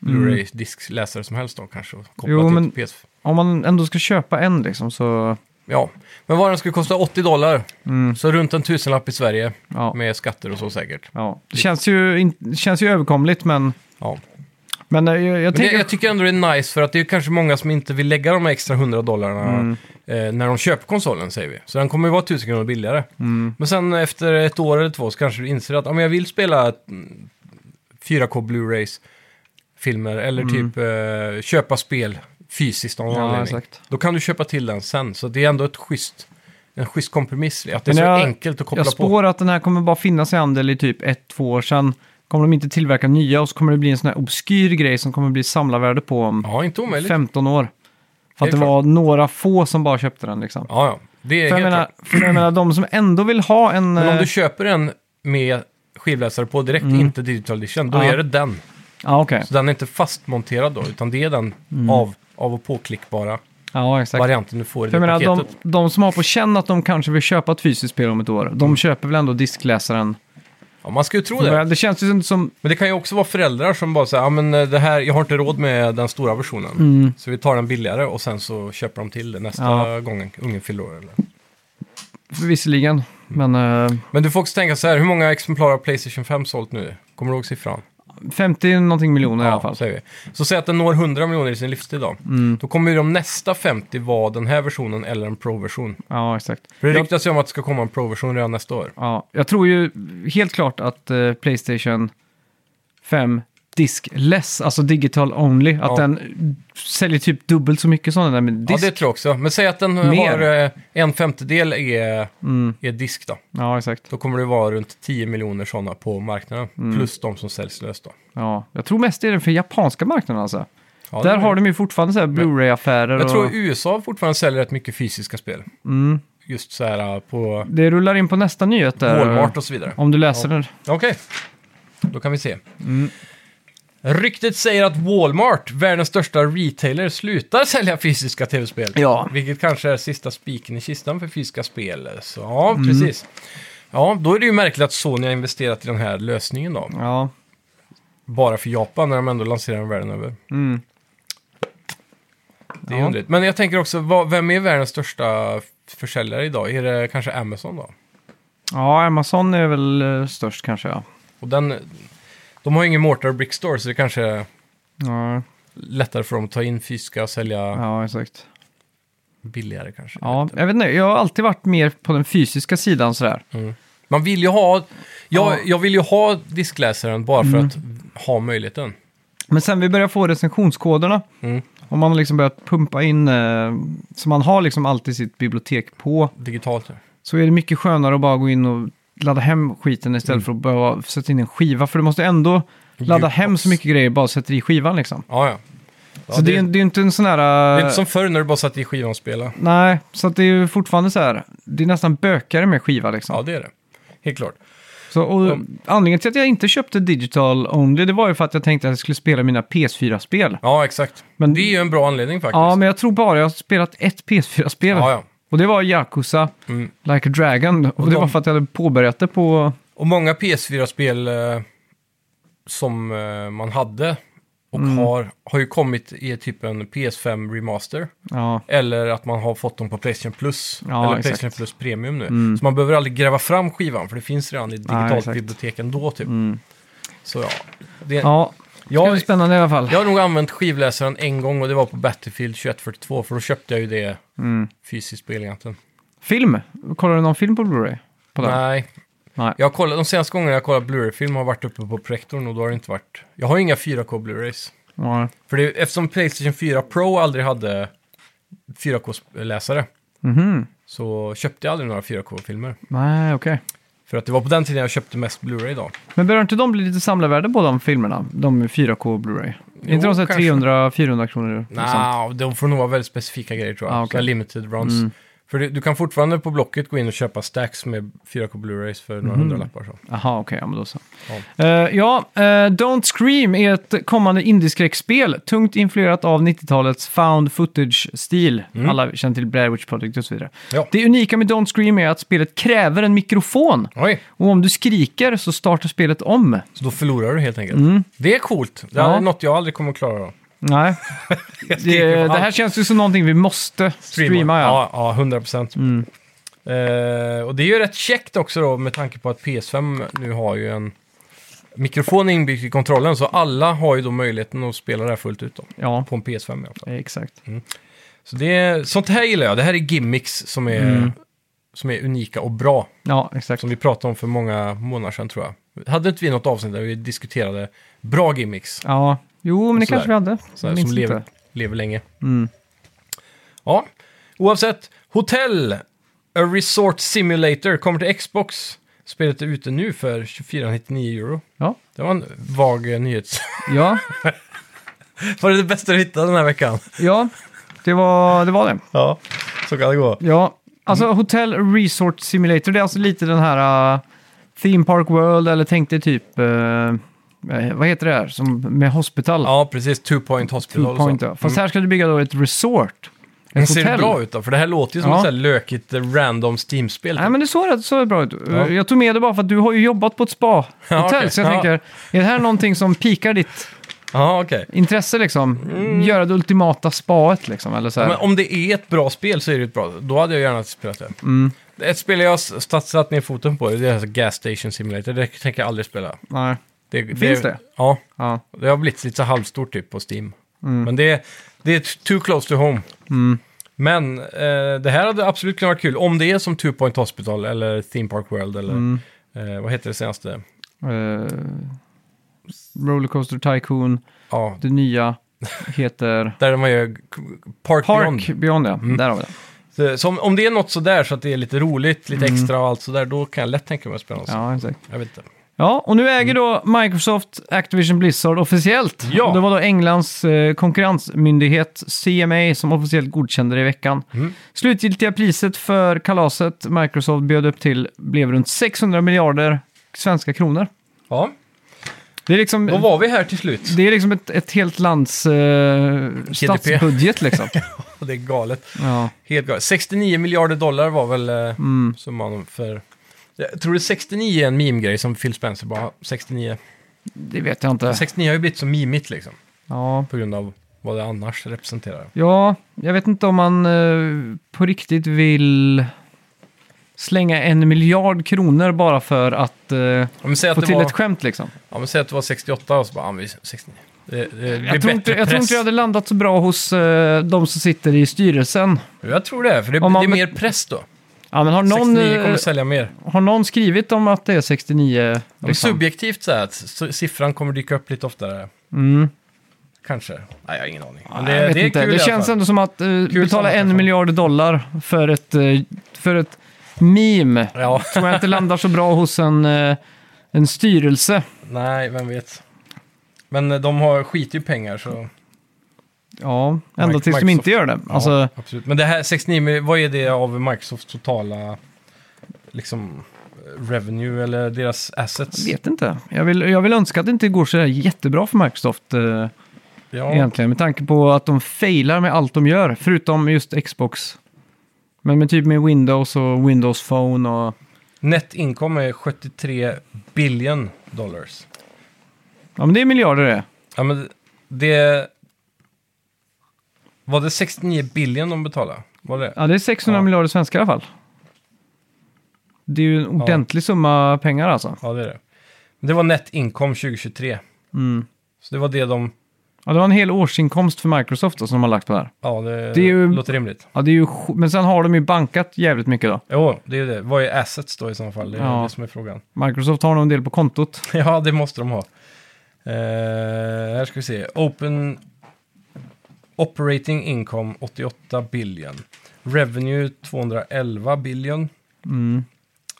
B: Blu-ray-diskläsare som helst då kanske. Och kopplat
A: Mm. Jo,
B: jo,
A: men-
B: men... till PS4.
A: Om man ändå ska köpa en liksom så...
B: Ja, men vad den skulle kosta 80 dollar.
A: Mm.
B: Så runt en tusenlapp i Sverige
A: Ja.
B: med skatter och så säkert.
A: Ja. Det känns ju, in, känns ju överkomligt men...
B: Ja.
A: Men eh, jag, jag
B: Men det,
A: tänker...
B: jag tycker ändå det är nice för att det är kanske många som inte vill lägga de här extra 100 dollarna
A: Mm.
B: eh, när de köper konsolen säger vi. Så den kommer ju vara 1000 kronor billigare.
A: Mm.
B: Men sen efter ett år eller två så kanske du inser att ah, men jag vill spela mm, 4K Blu-rays filmer eller typ eh, köpa spel fysiskt av någon
A: Mm. Ja,
B: anledning.
A: exakt.
B: Då kan du köpa till den sen. Så det är ändå ett schysst, en schysst kompromiss. Att det är så
A: Men jag-
B: enkelt att koppla
A: Jag
B: på.
A: spår att den här kommer bara finnas i handel i typ ett, två år sen. Kommer de inte tillverka nya och så kommer det bli en sån här obskyr grej som kommer bli samlarvärde på om
B: Ja, inte omöjligt.
A: 15 år. För att
B: Helt
A: det var några få som bara köpte den liksom.
B: Ja, ja. Det är
A: för,
B: helt
A: jag menar,
B: klart.
A: för jag menar, de som ändå vill ha en...
B: Men om
A: eh, Mm.
B: du köper en med skivläsare på direkt, inte digital edition, då
A: Ja.
B: är det den.
A: Ja, okej.
B: Så den är inte fastmonterad då, utan det är den
A: Mm.
B: av, av och påklickbara
A: Ja, exakt.
B: varianten du får i
A: För
B: det
A: jag menar, de,
B: paketet.
A: de som har på känn att de kanske vill köpa ett fysiskt spel om ett år, de köper väl ändå diskläsaren?
B: Mm. Ja, man ska ju tro det.
A: Det, känns ju inte som...
B: Men det kan ju också vara föräldrar som bara säger, ja men eh, det här, jag har inte råd med den stora versionen. Så vi tar den billigare och sen så köper de till det nästa
A: Mm. Ja.
B: gång ungen fyller år. Eller.
A: Visserligen, men... eh,
B: Men du får också tänka så här, hur många exemplar av Playstation 5 sålt nu? Kommer du ihåg siffran?
A: 50 någonting miljoner i alla fall.
B: Säger vi. Så säg att den når 100 miljoner i sin livstid då.
A: Mm.
B: Då kommer ju de nästa 50 vara den här versionen eller en Pro-version.
A: Ja, exakt.
B: För det ryktas ju om att det ska komma en Pro-version redan nästa år.
A: Ja, jag tror ju helt klart att eh, Playstation 5 diskless, alltså digital only, att
B: Ja.
A: den säljer typ dubbelt så mycket som den där med
B: Ja,
A: disk.
B: det
A: Ja,
B: tror jag också. Men säg att den
A: Mer. Mm.
B: har eh, en femtedel är, är disk då.
A: exakt.
B: Då kommer det vara runt 10 miljoner sådana på marknaden.
A: Mm.
B: Plus de som säljs löst då.
A: Ja, jag tror mest det är den för japanska marknaden alltså.
B: Ja,
A: där
B: det-
A: har de ju fortfarande så här Blu-ray-affärer
B: Jag
A: och...
B: tror USA fortfarande säljer rätt mycket fysiska spel.
A: Mm.
B: Just så här eh, på
A: Det rullar in på nästa nyhet där.
B: Walmart och så vidare.
A: Om du läser den.
B: Okej, då kan vi se. Ryktet säger att Walmart, världens största retailer, slutar sälja fysiska tv-spel.
A: Ja.
B: Vilket kanske är sista spiken i kistan för fysiska spel. Så, ja, precis. Ja, då är det ju märkligt att Sony har investerat i den här lösningen då.
A: Ja,
B: Bara för Japan när de ändå lanserar den världen över. Det är
A: Mm. Ja.
B: underligt. Men jag tänker också, vad, vem är världens största f- försäljare idag? Är det kanske Amazon då?
A: ja Amazon är väl eh, störst kanske ja.
B: Och den, de har ju ingen mortar och brick store så det kanske är
A: Ja,
B: lättare för dem att ta in fysiska och sälja
A: ja exakt.
B: billigare kanske.
A: Ja, jag vet inte, jag har alltid varit mer på den fysiska sidan sådär.
B: Mm. Man vill ju ha, jag,
A: Ja. Mm.
B: jag vill ju ha diskläsaren bara för att ha möjligheten.
A: Men sen vi börjar få recensionskoderna,
B: Mm.
A: och man har liksom börjat pumpa in, eh, så man har liksom alltid sitt bibliotek på,
B: Digitalt.
A: så är det mycket skönare att bara gå in och ladda hem skiten istället
B: Mm.
A: för att behöva sätta in en skiva. För du måste ändå ladda
B: Jukebox.
A: hem så mycket grejer, bara sätter i skivan liksom.
B: Ja, ja. ja
A: så det, är- det är ju inte en sån här...
B: det är
A: eh,
B: inte som förr när du bara satt i skivan och spelade.
A: Nej, så att det är ju fortfarande så här, det är nästan bökigare med skiva liksom.
B: Ja, det är det. Helt klart.
A: Så, och Anledningen till att jag inte köpte digital only, det var ju för att jag tänkte att jag skulle spela mina PS4-spel.
B: Ja, exakt.
A: Men-
B: det är ju en bra anledning faktiskt.
A: Ja, men jag tror bara jag har spelat ett PS4-spel.
B: Ja, ja.
A: Och det var Yakuza, Like a Dragon. Och, det
B: de-
A: var för att jag hade påbörjat det på...
B: Och många PS4-spel eh, som eh, man hade och
A: Mm.
B: har, har ju kommit i typ en PS5 remaster.
A: Ja,
B: Eller att man har fått dem på Playstation Plus.
A: Ja,
B: eller
A: exakt. Mm.
B: Playstation Plus Premium nu. Så man behöver aldrig gräva fram skivan för det finns redan i digitalt
A: exakt. Mm.
B: bibliotek ändå typ. Så ja. Det,
A: ja. Det ska
B: jag,
A: bli spännande i alla fall.
B: jag har nog använt skivläsaren en gång och det var på Battlefield 2142 för då köpte jag ju det
A: Mm.
B: fysiskt på Elgiganten.
A: Film? Kollar du någon film på Blu-ray? På den?
B: Nej.
A: Nej.
B: Jag har kollat, de senaste gångerna jag kollat Blu-ray-film har varit uppe på projektorn och då har det inte varit... Jag har ju inga 4K Blu-rays.
A: Ja.
B: För det, eftersom Playstation 4 Pro aldrig hade 4K-läsare
A: Mhm.
B: så köpte jag aldrig några 4K-filmer.
A: Nej, okej.
B: För att det var på den tiden jag köpte mest Blu-ray då.
A: Men börjar inte de bli lite samlarvärde på de filmerna? De 4K Blu-ray? Är inte de så här
B: kanske.
A: 300-400 kronor? liksom?
B: Nej, de får nog vara väldigt specifika grejer tror jag.
A: Ah,
B: Ah,
A: okej. Mm.
B: limited runs. För det, du kan fortfarande på Blocket gå in och köpa stacks med 4K Blu-rays för
A: Mm.
B: några hundralappar. Så.
A: Jaha, okej, ja, men då så. Eh, ja, eh, Don't Scream är ett kommande indieskräckspel, tungt influerat av 90-talets found footage-stil. Alla känner till Blair Witch Project och så vidare.
B: Mm. Ja.
A: Det unika med Don't Scream är att spelet kräver en mikrofon.
B: Oj,
A: Och om du skriker så startar spelet om.
B: så då förlorar du helt enkelt. Det är coolt. Det här
A: Mm. Ja.
B: är något jag aldrig kommer att klara då.
A: Nej, det,
B: skriker på
A: det här
B: allt.
A: känns ju som någonting vi måste streama. ja. Mm.
B: ja. Ja, 100 procent. Eh, och det är ju rätt käckt också då med tanke på att PS5 nu har ju en mikrofon inbyggd i kontrollen. Så alla har ju då möjligheten att spela det här fullt ut då.
A: Ja,
B: På en PS5 i alla fall.
A: exakt.
B: Så det är, sånt här gillar jag. Det här är gimmicks som är,
A: Mm.
B: som är unika och bra.
A: Ja, exakt.
B: Som vi pratade om för många månader sedan tror jag. Hade inte vi något avsnitt där vi diskuterade bra gimmicks?
A: Ja, jo, men det
B: Sådär.
A: kanske vi hade.
B: Sådär,
A: Jag minns
B: som lever,
A: inte. Mm.
B: lever länge. Ja, oavsett. Hotell, A Resort Simulator, kommer till Xbox. Spelet är ute nu för 24,99 euro.
A: Ja,
B: Det var en vag eh, nyhets...
A: ja,
B: var det det bästa du hittade den här veckan?
A: ja. Det, var, det var det.
B: Ja, så kan det gå.
A: Ja, alltså
B: Mm.
A: Hotel Resort Simulator, det är alltså lite den här uh, Theme Park World, eller tänk dig typ, eh, eh, vad heter det här, som med Hospital?
B: Ja, precis. Two Point Hospital
A: Two point, ja.
B: och så. Mm.
A: Fast här ska du bygga då ett resort.
B: Men
A: Ett
B: ser det
A: hotell.
B: bra ut då? För det här låter ju som
A: Ja.
B: ett så här lökigt eh, random Steam-spel.
A: Nej,
B: typ.
A: men det såg rätt så bra ut. Eh,
B: Ja.
A: Jag tog med det bara för att du har ju jobbat på ett spa-hotell,
B: Ja, okej.
A: så jag
B: Ja.
A: tänker, är det här någonting som pikar ditt
B: Ja, okej.
A: intresse liksom?
B: Mm.
A: Göra det ultimata spaet liksom, eller så här.
B: Men om det är ett bra spel så är det ett bra. Då hade jag gärna spelat det.
A: Mm.
B: Ett spel jag har s- satt, satt ner foten på, det är alltså Gas Station Simulator. Det tänker jag aldrig spela.
A: Nej.
B: Det,
A: Finns det?
B: Ja,
A: Ja.
B: det har blivit lite så halvstort typ på Steam.
A: Mm.
B: Men det, det är t- too close to home. Men eh, det här hade absolut kunnat vara kul om det är som Two Point Hospital eller Theme Park World eller
A: Mm.
B: eh, vad heter det senaste?
A: Eh, Rollercoaster Tycoon,
B: Ja,
A: det nya heter...
B: där man gör k- Park, Beyond. Mm.
A: Park Beyond, ja. Där har vi det.
B: Så, så om, om det är något sådär så att det är lite roligt, lite extra och allt sådär, då kan jag lätt tänka mig att spela något sånt.
A: Mm. Ja, exakt.
B: Jag vet inte.
A: Ja, och nu äger då Microsoft Activision Blizzard officiellt.
B: Mm. Ja.
A: Och det var då Englands eh, konkurrensmyndighet CMA som officiellt godkände det i veckan.
B: Mm.
A: Slutgiltiga priset för kalaset Microsoft bjöd upp till blev runt 600 miljarder svenska kronor.
B: Ja,
A: Det är liksom,
B: då var vi här till slut.
A: det är liksom ett, ett helt lands eh, statsbudget liksom.
B: Och Det är galet.
A: Ja.
B: Helt galet. 69 miljarder dollar var väl eh,
A: Mm.
B: summan för... Jag tror det 69 är en meme-grej som Phil Spencer bara, 69.
A: Det vet jag inte.
B: 69 har ju blivit så mimigt liksom,
A: Ja.
B: på grund av vad det annars representerar.
A: Ja, jag vet inte om man eh, på riktigt vill slänga en miljard kronor bara för att eh,
B: Om vi säger
A: få
B: att, det
A: till
B: var,
A: ett skämt liksom.
B: ja, men säg att det var 68 och så bara, ja, men 69. Det, det, det blir
A: Jag tror, inte,
B: bättre
A: jag tror
B: press.
A: inte det hade landat så bra hos eh, de som sitter i styrelsen.
B: Jag tror det, för det,
A: Om man-
B: det är mer press då.
A: Ja, men har, någon,
B: 69 kommer
A: eh,
B: sälja mer.
A: har någon skrivit om att det är 69?
B: Ja, men
A: Liksom?
B: Subjektivt så här, att s- siffran kommer dyka upp lite oftare.
A: Mm.
B: Kanske. Nej, jag har ingen aning. Men
A: Nej, jag vet
B: är
A: inte.
B: kul i
A: det
B: alla
A: känns
B: fall.
A: ändå som att eh, betala en
B: sammanfattning.
A: miljard dollar för ett, eh, för ett meme
B: Ja,
A: tror jag inte landar så bra hos en, eh, en styrelse.
B: nej, vem vet. Men eh, de har skit ju pengar så...
A: Ja, ända
B: Mic-
A: tills de
B: Microsoft.
A: inte gör det.
B: Ja,
A: Alltså,
B: absolut. Men det här 69, men vad är det av Microsofts totala liksom, eh, revenue eller deras assets?
A: vet inte. Jag vill, jag vill önska att det inte går så där jättebra för Microsoft eh,
B: Ja,
A: egentligen. Med tanke på att de failar med allt de gör, förutom just Xbox. Men med typ med Windows och Windows Phone och
B: Net income är 73 billion dollars.
A: Ja, men det är miljarder det.
B: Ja, men det... Var det 69 billion de betalade? Var det?
A: Ja, det är 600
B: Ja.
A: miljarder svenskar i alla fall. Det är ju en ordentlig summa pengar alltså.
B: Ja, det är det. Men det var net income 2023.
A: Mm.
B: Så det var det de...
A: Ja, det var en hel årsinkomst för Microsoft då, som de har lagt på det här.
B: Ja, det,
A: Det är ju-
B: låter rimligt.
A: Ja, det är ju, sj- men sen har de ju bankat jävligt mycket då.
B: Jo, det är det. Vad är assets då i så fall? Det är
A: Ja.
B: det som är frågan.
A: Microsoft har nog en del på kontot.
B: Ja, det måste de ha. Eh, här ska vi se. Open Operating Income 88 billion. Revenue 211 billion.
A: Mm.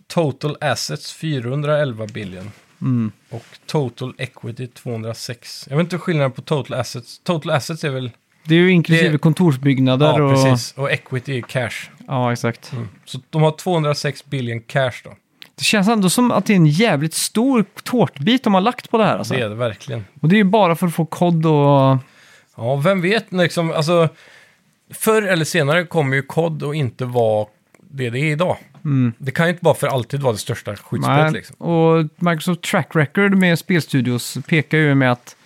B: Total Assets 411 billion.
A: Mm.
B: Och Total Equity 206. Jag vet inte skillnaden på Total Assets. Total Assets är väl...
A: Det är ju inklusive
B: Det-
A: kontorsbyggnader
B: ja,
A: och...
B: precis. Mm. Och Equity är cash.
A: Ja, exakt.
B: Så de har 206 billion cash då.
A: Det känns ändå som att det är en jävligt stor tårtbit de har lagt på det här alltså.
B: Det är det verkligen.
A: Och det är ju bara för att få kod och...
B: Ja, vem vet liksom, alltså, förr eller senare kommer ju COD och inte vara det det är idag. Det kan ju inte bara för alltid vara det största
A: Mm. Nej,
B: skyddspelet liksom.
A: Och Microsoft Track Record med spelstudios pekar ju med att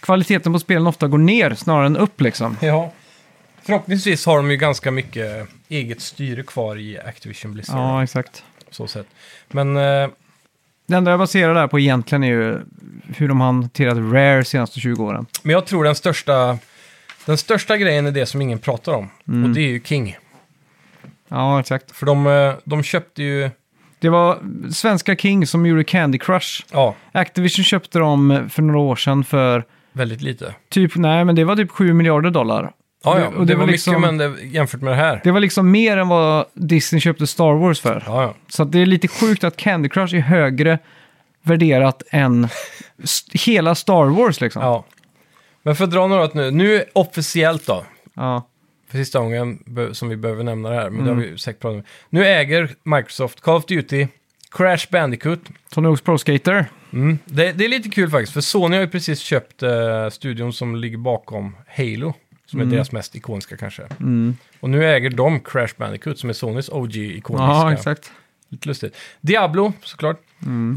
A: kvaliteten på spelen ofta går ner snarare än upp liksom.
B: Ja. Förhoppningsvis har de ju ganska mycket eget styre kvar i Activision Blizzard.
A: Ja, exakt.
B: Så sätt. Men eh,
A: Det enda jag baserar det här på egentligen är ju hur de har hanterat Rare de senaste 20 åren.
B: Men jag tror den största, den största grejen är det som ingen pratar om.
A: Mm.
B: Och det är ju King.
A: Ja, exakt.
B: För de, eh, de köpte ju...
A: Det var svenska King som gjorde Candy Crush.
B: Ja,
A: Activision köpte dem för några år sedan för
B: väldigt lite.
A: typ, nej men det var typ 7 miljarder dollar.
B: Ja, ja.
A: och
B: Det, var,
A: liksom-
B: mycket men det, jämfört med det här.
A: Det var liksom mer än vad Disney köpte Star Wars för.
B: Ja, ja.
A: Så att det är lite sjukt att Candy Crush är högre värderat än st- hela Star Wars liksom.
B: ja. Men för att dra något nu. Nu officiellt då.
A: Ja.
B: För sista gången be- som vi behöver nämna det här. Men det
A: Mm.
B: har vi ju säkert pratat om. Nu äger Microsoft Call of Duty, Crash Bandicoot.
A: Tony Hawk's Pro Skater.
B: Mm. Det, det är lite kul faktiskt. För Sony har ju precis köpt eh, studion som ligger bakom Halo. Som
A: Mm.
B: är deras mest ikoniska kanske. Och nu äger de Crash Bandicoot som är Sonys OG-ikoniska.
A: Ja, exakt.
B: Lite lustigt. Diablo, såklart.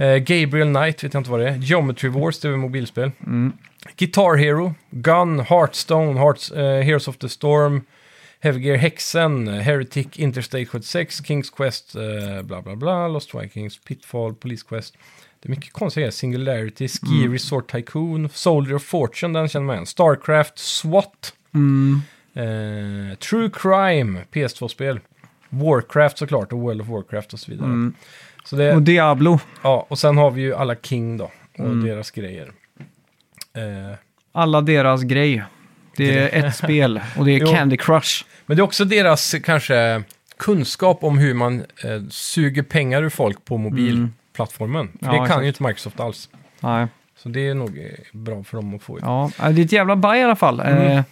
B: Eh, Gabriel Knight, vet jag inte vad det är. Geometry Wars, det är väl mobilspel. Guitar Hero, Gun, Hearthstone, Hearts, eh, Heroes of the Storm, Heavy Gear Hexen, eh, Heretic, Interstate 76, Kings Quest, eh, bla bla bla, Lost Vikings, Pitfall, Police Quest. Det är mycket konstiga grejer. Singularity, Ski Resort Tycoon, Soldier of Fortune, den känner man igen. Starcraft, SWAT, eh, True Crime, PS2-spel. Warcraft såklart och World of Warcraft och så vidare. Så det,
A: Och Diablo.
B: ja, och sen har vi ju alla King då och
A: Mm.
B: deras grejer. Eh,
A: Alla deras grej. Det är ett spel och det är
B: Jo.
A: Candy Crush.
B: Men det är också deras kanske kunskap om hur man eh, suger pengar ur folk på mobilplattformen.
A: Mm.
B: För
A: Ja,
B: det kan
A: exakt.
B: ju inte Microsoft alls.
A: Nej.
B: Så det är nog eh, bra för dem att få. ut.
A: Ja, det är ett jävla baj i alla fall.
B: Mm.
A: Eh,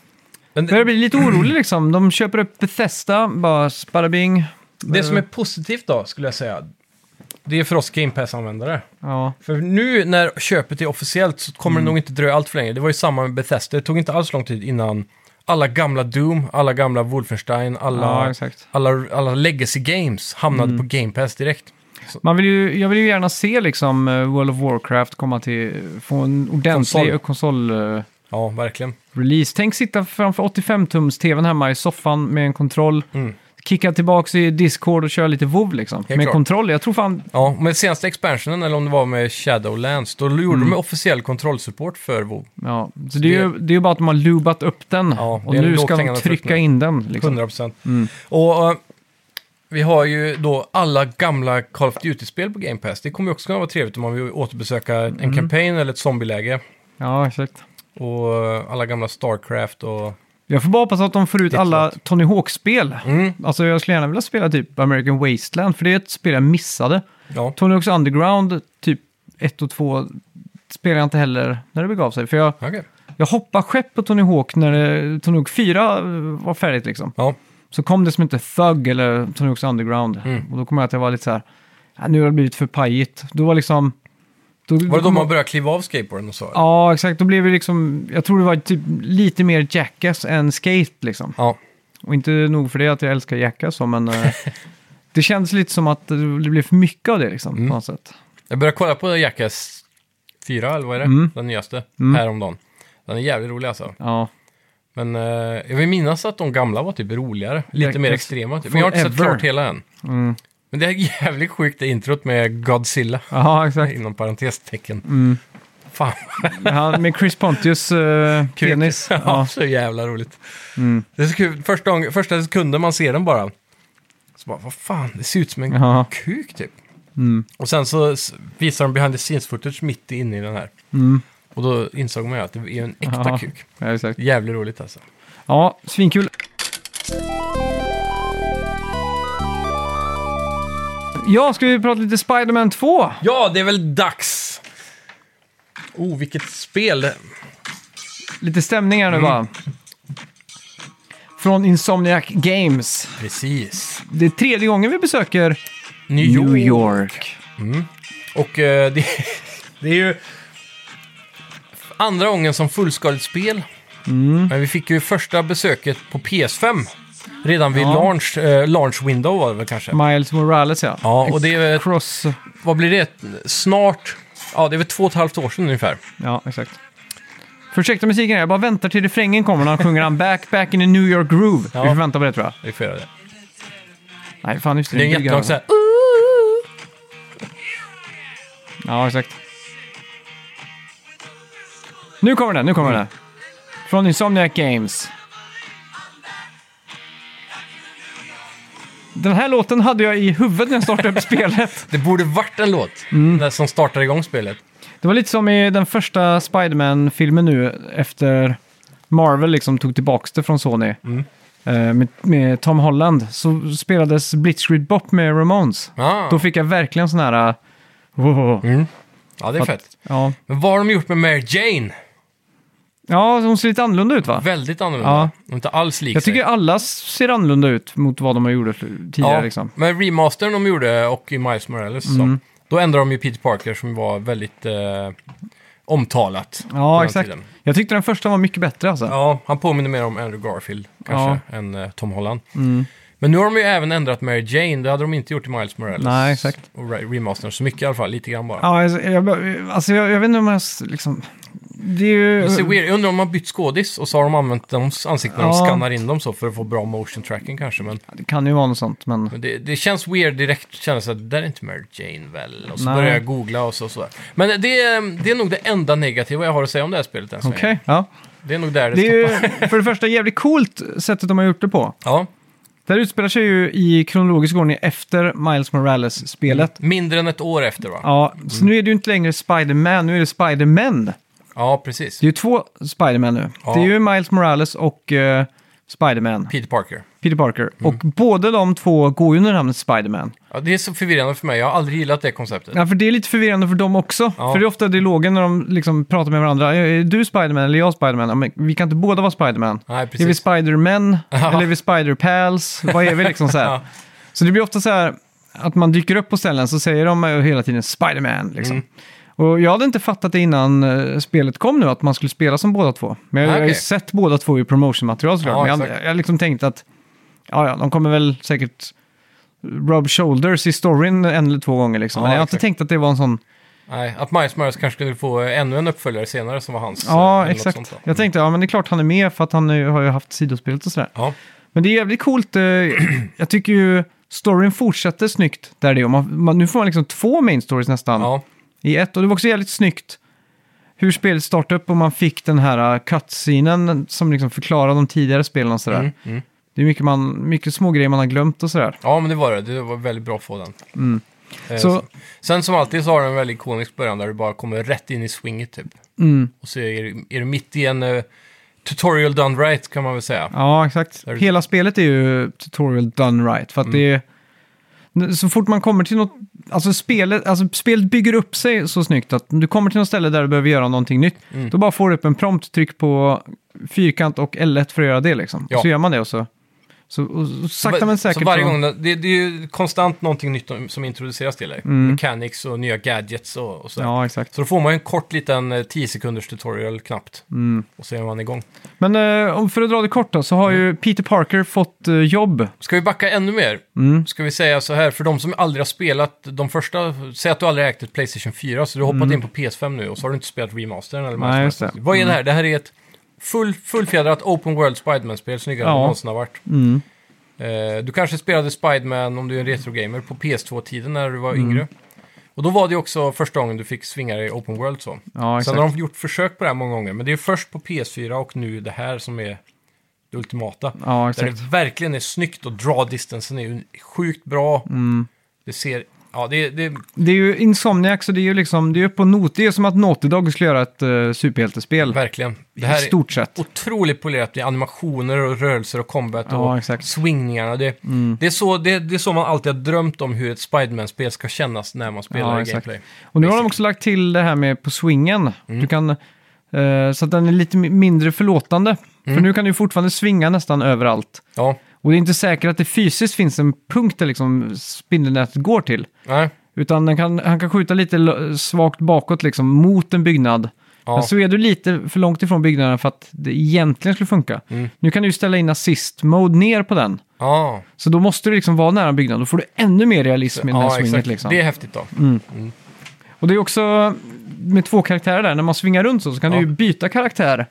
B: Men
A: börjar
B: det,
A: bli lite orolig liksom. De köper upp Bethesda, bara sparabing.
B: det som är positivt då, skulle jag säga, det är för oss Game Pass-användare.
A: Ja,
B: För nu när köpet är officiellt så kommer
A: Mm.
B: det nog inte dröja allt för länge. Det var ju samma med Bethesda, det tog inte alls lång tid innan alla gamla Doom, alla gamla Wolfenstein,
A: ja
B: alla,
A: exakt.
B: alla, alla Legacy Games hamnade på Game Pass direkt.
A: Man vill ju, jag vill ju gärna se liksom eh, World of Warcraft komma till, få en
B: Konsol.
A: ordentlig konsol-release.
B: Ja, verkligen.
A: Tänk sitta framför 85-tums-tvn hemma i soffan med en kontroll.
B: Mm.
A: Kicka tillbaks i Discord och köra lite WoW liksom. med
B: klart.
A: kontroll. Jag tror fan...
B: Ja, med senaste expansionen, eller om det var med Shadowlands, då gjorde de officiell kontrollsupport för WoW.
A: Ja. Så det, är ju, det är ju bara att de har lubat upp den.
B: Ja,
A: och
B: det är
A: nu
B: lågt
A: ska de
B: hängande frukt
A: trycka
B: nu.
A: in den. Liksom.
B: 100 procent. Och eh, vi har ju då alla gamla Call of Duty-spel på Game Pass. Det kommer ju också kunna vara trevligt om man vill återbesöka en kampanj eller ett zombieläge.
A: Ja, exakt.
B: Och eh, alla gamla Starcraft och...
A: Jag får bara hoppas att de får ut
B: Det är
A: alla Tony Hawk-spel.
B: Mm,
A: Alltså jag skulle gärna vilja spela typ American Wasteland, för det är ett spel jag missade.
B: ja.
A: Tony Hawk's Underground, typ 1 och 2, spelar jag inte heller när det begav sig. För jag,
B: Okej.
A: jag hoppade skepp på Tony Hawk när det, Tony Hawk 4 var färdigt liksom.
B: Ja.
A: Så kom det som inte Thug eller Tony Hawk's Underground.
B: Mm.
A: Och då kom jag att jag var lite så här, "Ja, nu har det blivit för pajigt. Då var liksom... Då,
B: Var det då
A: kom-
B: man började kliva av skateboarden och så? eller?
A: Ja, exakt. Då blev det liksom, jag tror det var typ lite mer Jackass än Skate liksom.
B: ja.
A: Och inte nog för det att jag älskar Jackass så, men eh, Det känns lite som att det blir för mycket av det liksom,
B: Mm.
A: på något sätt.
B: Jag började kolla på Jackass 4, eller vad är det?
A: Mm.
B: Den nyaste, häromdagen. Den är jävligt rolig alltså.
A: Ja.
B: Men eh, jag vill minnas att de gamla var typ roligare. Lite
A: Jackass
B: mer extrema. Typ. Men jag har inte sett
A: Forever. Mm.
B: klart hela än. Men det är jävligt sjukt det introt med Godzilla.
A: Jaha, exakt.
B: Inom parentestecken.
A: Mm.
B: Fan,
A: Ja, med Chris Pontius eh,
B: kul.
A: penis.
B: ja,
A: Ja. Mm.
B: så jävla roligt. Det är så kul. Första, gång- första sekunden man ser den bara. Så bara, vad fan, det ser ut som en
A: Ja. Mm.
B: kuk typ. Och sen så s- visar de behind the scenes footage mitt inne i den här. Och då insåg man ju att det är en äkta
A: Mm. Ja.
B: kuk.
A: ja, exakt.
B: Jävligt roligt alltså.
A: Ja, svinkul. Ja, ska vi prata lite Spider-Man 2?
B: Ja, det är väl dags! Oh, vilket spel!
A: Lite stämning här nu bara.
B: Mm.
A: Från Insomniac Games.
B: Precis.
A: Det är tredje gången vi besöker
B: New York.
A: New York.
B: Och eh, det, det är ju andra gången som fullskaligt spel.
A: Mm.
B: Men vi fick ju första besöket på PS5. Redan vid
A: Ja.
B: launch, eh, launch window var det väl kanske.
A: Miles Morales, ja.
B: Ja, och det är-
A: Cross...
B: Vad blir det? Snart... Ja, det är väl två och ett halvt år sedan ungefär.
A: Ja, exakt. Ursäkta musiken, här, jag bara väntar till refrängen kommer när han sjunger han back, back in the New York groove.
B: Ja.
A: Vi får vänta på det tror jag.
B: Vi får göra det.
A: Nej, fan just det.
B: Det är en
A: den bygger
B: jättelång Uh, så
A: över.
B: här... "Ooh."
A: Ja, exakt. Nu kommer den, nu kommer den. Från Insomniac Games. Den här låten hade jag i huvudet när jag startade upp spelet.
B: Det borde varit en låt
A: Mm.
B: där som startar igång spelet.
A: Det var lite som i den första Spiderman-filmen nu efter Marvel liksom tog tillbaka det från Sony.
B: Mm.
A: Eh, Med, med Tom Holland så spelades Blitzkrieg Bop med Ramones.
B: Ah. Mm.
A: Då fick jag verkligen sån här... eh, Wow.
B: Ja, det är fett.
A: Ja.
B: Men vad har de gjort med Mary Jane?
A: ja, hon ser lite annorlunda ut va?
B: Väldigt annorlunda.
A: Ja.
B: De är Inte alls lik
A: Jag
B: sig.
A: tycker alla ser annorlunda ut mot vad de har gjort tidigare.
B: Ja,
A: Liksom. Mm.
B: men remastern de gjorde och i Miles Morales, så, då ändrade de ju Peter Parker som var väldigt eh, omtalat. på
A: ja
B: den
A: exakt.
B: tiden.
A: Jag tyckte den första var mycket bättre alltså.
B: Ja, han påminner mer om Andrew Garfield kanske än eh, Tom Holland.
A: Mm.
B: Men nu har de ju även ändrat Mary Jane, det hade de inte gjort i Miles Morales.
A: Nej, exakt.
B: Och re- remastern så mycket i alla fall, lite grann bara.
A: Ja, alltså, jag, alltså, jag, jag vet inte om jag... s- Liksom, det är ju...
B: Det ser weird. Jag undrar om de har bytt skådis och så har de använt deras ansikten när de
A: mm. Ja.
B: skannar in dem så för att få bra motion tracking kanske. Men,
A: Det kan ju vara något sånt, men...
B: men det, det känns weird direkt, känns att det där är inte Mary Jane väl? Och så
A: Nej.
B: börjar jag googla och så. så. Men det, är- det är nog det enda negativa jag har att säga om det här spelet än så
A: Okej,
B: länge.
A: ja.
B: Det är nog där det,
A: Det är
B: stoppar.
A: ju för det första jävligt coolt sättet de har gjort det på.
B: Ja,
A: Det här utspelar sig ju i kronologisk ordning efter Miles Morales-spelet.
B: mindre än ett år efter va? Ja,
A: Ja, så nu är det ju inte längre Spider-Man, nu är det Spider-Man.
B: precis.
A: Det är ju två Spider-Man nu.
B: Ja.
A: Det är ju Miles Morales och eh, Spider-Man,
B: Peter Parker.
A: Peter Parker.
B: Mm.
A: Och båda de två går ju under namnet Spider-Man.
B: Ja, det är så förvirrande för mig, jag har aldrig gillat det konceptet.
A: Ja, för det är lite förvirrande för dem också.
B: Ja.
A: För det är ofta dialogen när de liksom pratar med varandra. Är är du Spiderman eller jag Spiderman? Ja, men vi kan inte båda vara Spiderman.
B: Nej, precis.
A: Är vi Spiderman? Eller är vi Spiderpals? Vad är vi liksom så här?
B: Ja.
A: Så det blir ofta så här att man dyker upp på ställen så säger de eh, hela tiden Spiderman. Liksom.
B: Mm.
A: Och jag hade inte fattat det innan eh, spelet kom nu, att man skulle spela som båda två. Men jag,
B: Ah,
A: jag har ju
B: okej.
A: sett båda två i promotionmaterial såklart.
B: Ja,
A: men jag,
B: exakt.
A: jag liksom tänkte att ja, ja, de kommer väl säkert rub shoulders i storyn en eller två gånger. Liksom.
B: Ja,
A: Men jag har
B: exakt.
A: inte tänkt att det var en sån...
B: Nej, att Miles Morales kanske kunde få eh, ännu en uppföljare senare som var hans. eh,
A: Ja,
B: eller något
A: exakt.
B: sånt, va?
A: Jag tänkte, ja men det är klart han är med för att han eh, har ju haft sidospelet och sådär.
B: Ja,
A: Men det är jävligt coolt. eh, Jag tycker ju storyn fortsätter snyggt där det är. Och Man, man, nu får man liksom två main stories nästan
B: ja.
A: i ett. Och det var också jävligt snyggt hur spelet startade upp och man fick den här eh, cutscenen som liksom förklarar de tidigare spelen och sådär. Det är mycket, man, mycket små grejer man har glömt och sådär.
B: Mm, ja, men det var det. Det var väldigt bra att få den. Eh,
A: Mm. Så-
B: Sen som alltid så har den en väldigt ikonisk början där du bara kommer rätt in i swinget typ.
A: Mm.
B: Och så är du, är du mitt i en eh, tutorial done right kan man väl säga.
A: Ja, exakt.
B: Där- Mm.
A: Hela spelet är ju tutorial done right. För att det är... Så fort man kommer till något... Alltså spelet, alltså spelet bygger upp sig så snyggt att du kommer till något ställe där du behöver göra någonting nytt.
B: Mm.
A: Då bara får du upp en prompt, tryck på fyrkant och L1 för att göra det liksom.
B: Ja.
A: Så gör man det och så Så och, och sakta men säkert
B: Så varje
A: så-
B: gång, det, det är ju konstant någonting nytt som introduceras till dig. Mechanics och nya gadgets och, och sådär.
A: Mm. Ja, exakt.
B: Så då får man ju en kort liten eh, 10 sekunders tutorial knappt.
A: Mm.
B: Och så är man igång.
A: Men eh, om- för att dra det kort då, så har
B: Mm.
A: ju Peter Parker fått eh, jobb.
B: Ska vi backa ännu mer?
A: Mm.
B: Ska vi säga så här, för de som aldrig har spelat de första, säg att du aldrig ägt ett Playstation 4, så du har hoppat in på PS5 nu och så har du inte spelat remastern eller
A: Mm. Nej,
B: mastern.
A: just det. Mm.
B: Vad är det här? Det här är ett full, fullfjädrat Open World Spiderman-spel, snyggare än
A: Ja. Mm.
B: det någonsin har varit. Eh, du kanske spelade Spiderman, om du är en retrogamer, på PS2-tiden när du var
A: Mm.
B: yngre. Och då var det ju också första gången du fick svinga dig i Open World så.
A: Ja,
B: Sen
A: exakt.
B: har de gjort försök på det här många gånger, men det är först på PS4 och nu det här som är det ultimata.
A: Ja,
B: Där
A: exakt.
B: det verkligen är snyggt och draw distansen är ju sjukt bra.
A: Mm.
B: Det ser, ja det, är- det är
A: Det är ju Insomniac, så det är ju liksom, det är ju på not. Det är som att Naughty Dog skulle göra ett eh, superhjältespel.
B: verkligen. Det
A: I
B: här är
A: stort sett.
B: otroligt polerat i animationer och rörelser och combat
A: Ja,
B: och
A: exakt. Mm.
B: swingningarna. Det, det, är så, det, det är så man alltid har drömt om hur ett Spiderman-spel ska kännas när man spelar
A: Ja,
B: i
A: exakt.
B: gameplay.
A: Och nu har de också lagt till det här med på swingen.
B: Mm.
A: Du kan, eh, så att den är lite mi- mindre förlåtande.
B: Mm.
A: För nu kan du ju fortfarande svinga nästan överallt.
B: Ja,
A: Och det är inte säkert att det fysiskt finns en punkt där liksom spindelnätet går till.
B: nej.
A: Utan den kan, han kan skjuta lite l- svagt bakåt liksom mot en byggnad.
B: Ja.
A: Men så är du lite för långt ifrån byggnaden för att det egentligen skulle funka.
B: Mm.
A: Nu kan du ju ställa in assist-mode ner på den.
B: Ja,
A: Så då måste du liksom vara nära byggnaden. Då får du ännu mer realism i den här
B: ja
A: swinget
B: exakt.
A: liksom.
B: Det är häftigt då.
A: Och det är också med två karaktärer där, när man svingar runt så, så kan
B: Ja.
A: du ju byta karaktär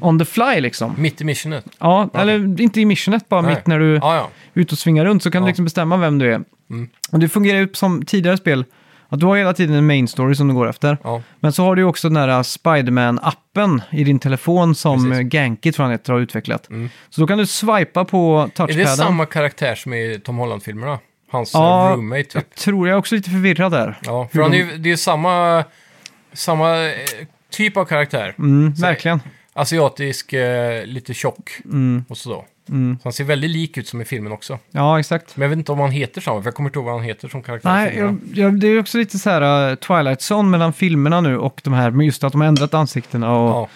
A: on the fly liksom.
B: Mitt i missionet.
A: Ja, eller inte i missionet, bara
B: Nej.
A: mitt när du
B: Ja, ja.
A: är ute och svingar runt så kan du
B: Ja. Mm.
A: liksom bestämma vem du är. Och det fungerar ju som tidigare spel, att du har hela tiden en main story som du går efter.
B: ja.
A: Men så har du ju också den här Spiderman-appen i din telefon som
B: Precis. Mm.
A: Precis. Gankit tror jag han heter, har utvecklat. Så då kan du swipa på
B: Är det
A: touchpaden.
B: samma karaktär som i Tom Holland-filmerna? Hans
A: Ja,
B: eh, roommate typ.
A: Jag tror jag är också lite förvirrad där.
B: Ja,
A: Hur
B: för han är
A: de-
B: ju, det är ju samma, samma eh, typ av karaktär.
A: Mm,
B: Så-
A: verkligen. Mm.
B: Asiatisk, eh, lite tjock och så. Så han ser väldigt lik ut som i filmen också.
A: Ja, exakt.
B: Men jag vet inte om han heter samma, för jag kommer inte ihåg vad han heter som karaktär. i
A: Nej,
B: filmerna.
A: jag, jag, det är också lite så här uh, Twilight Zone mellan filmerna nu och de här, men just att de har ändrat ansiktena. Och,
B: Ja,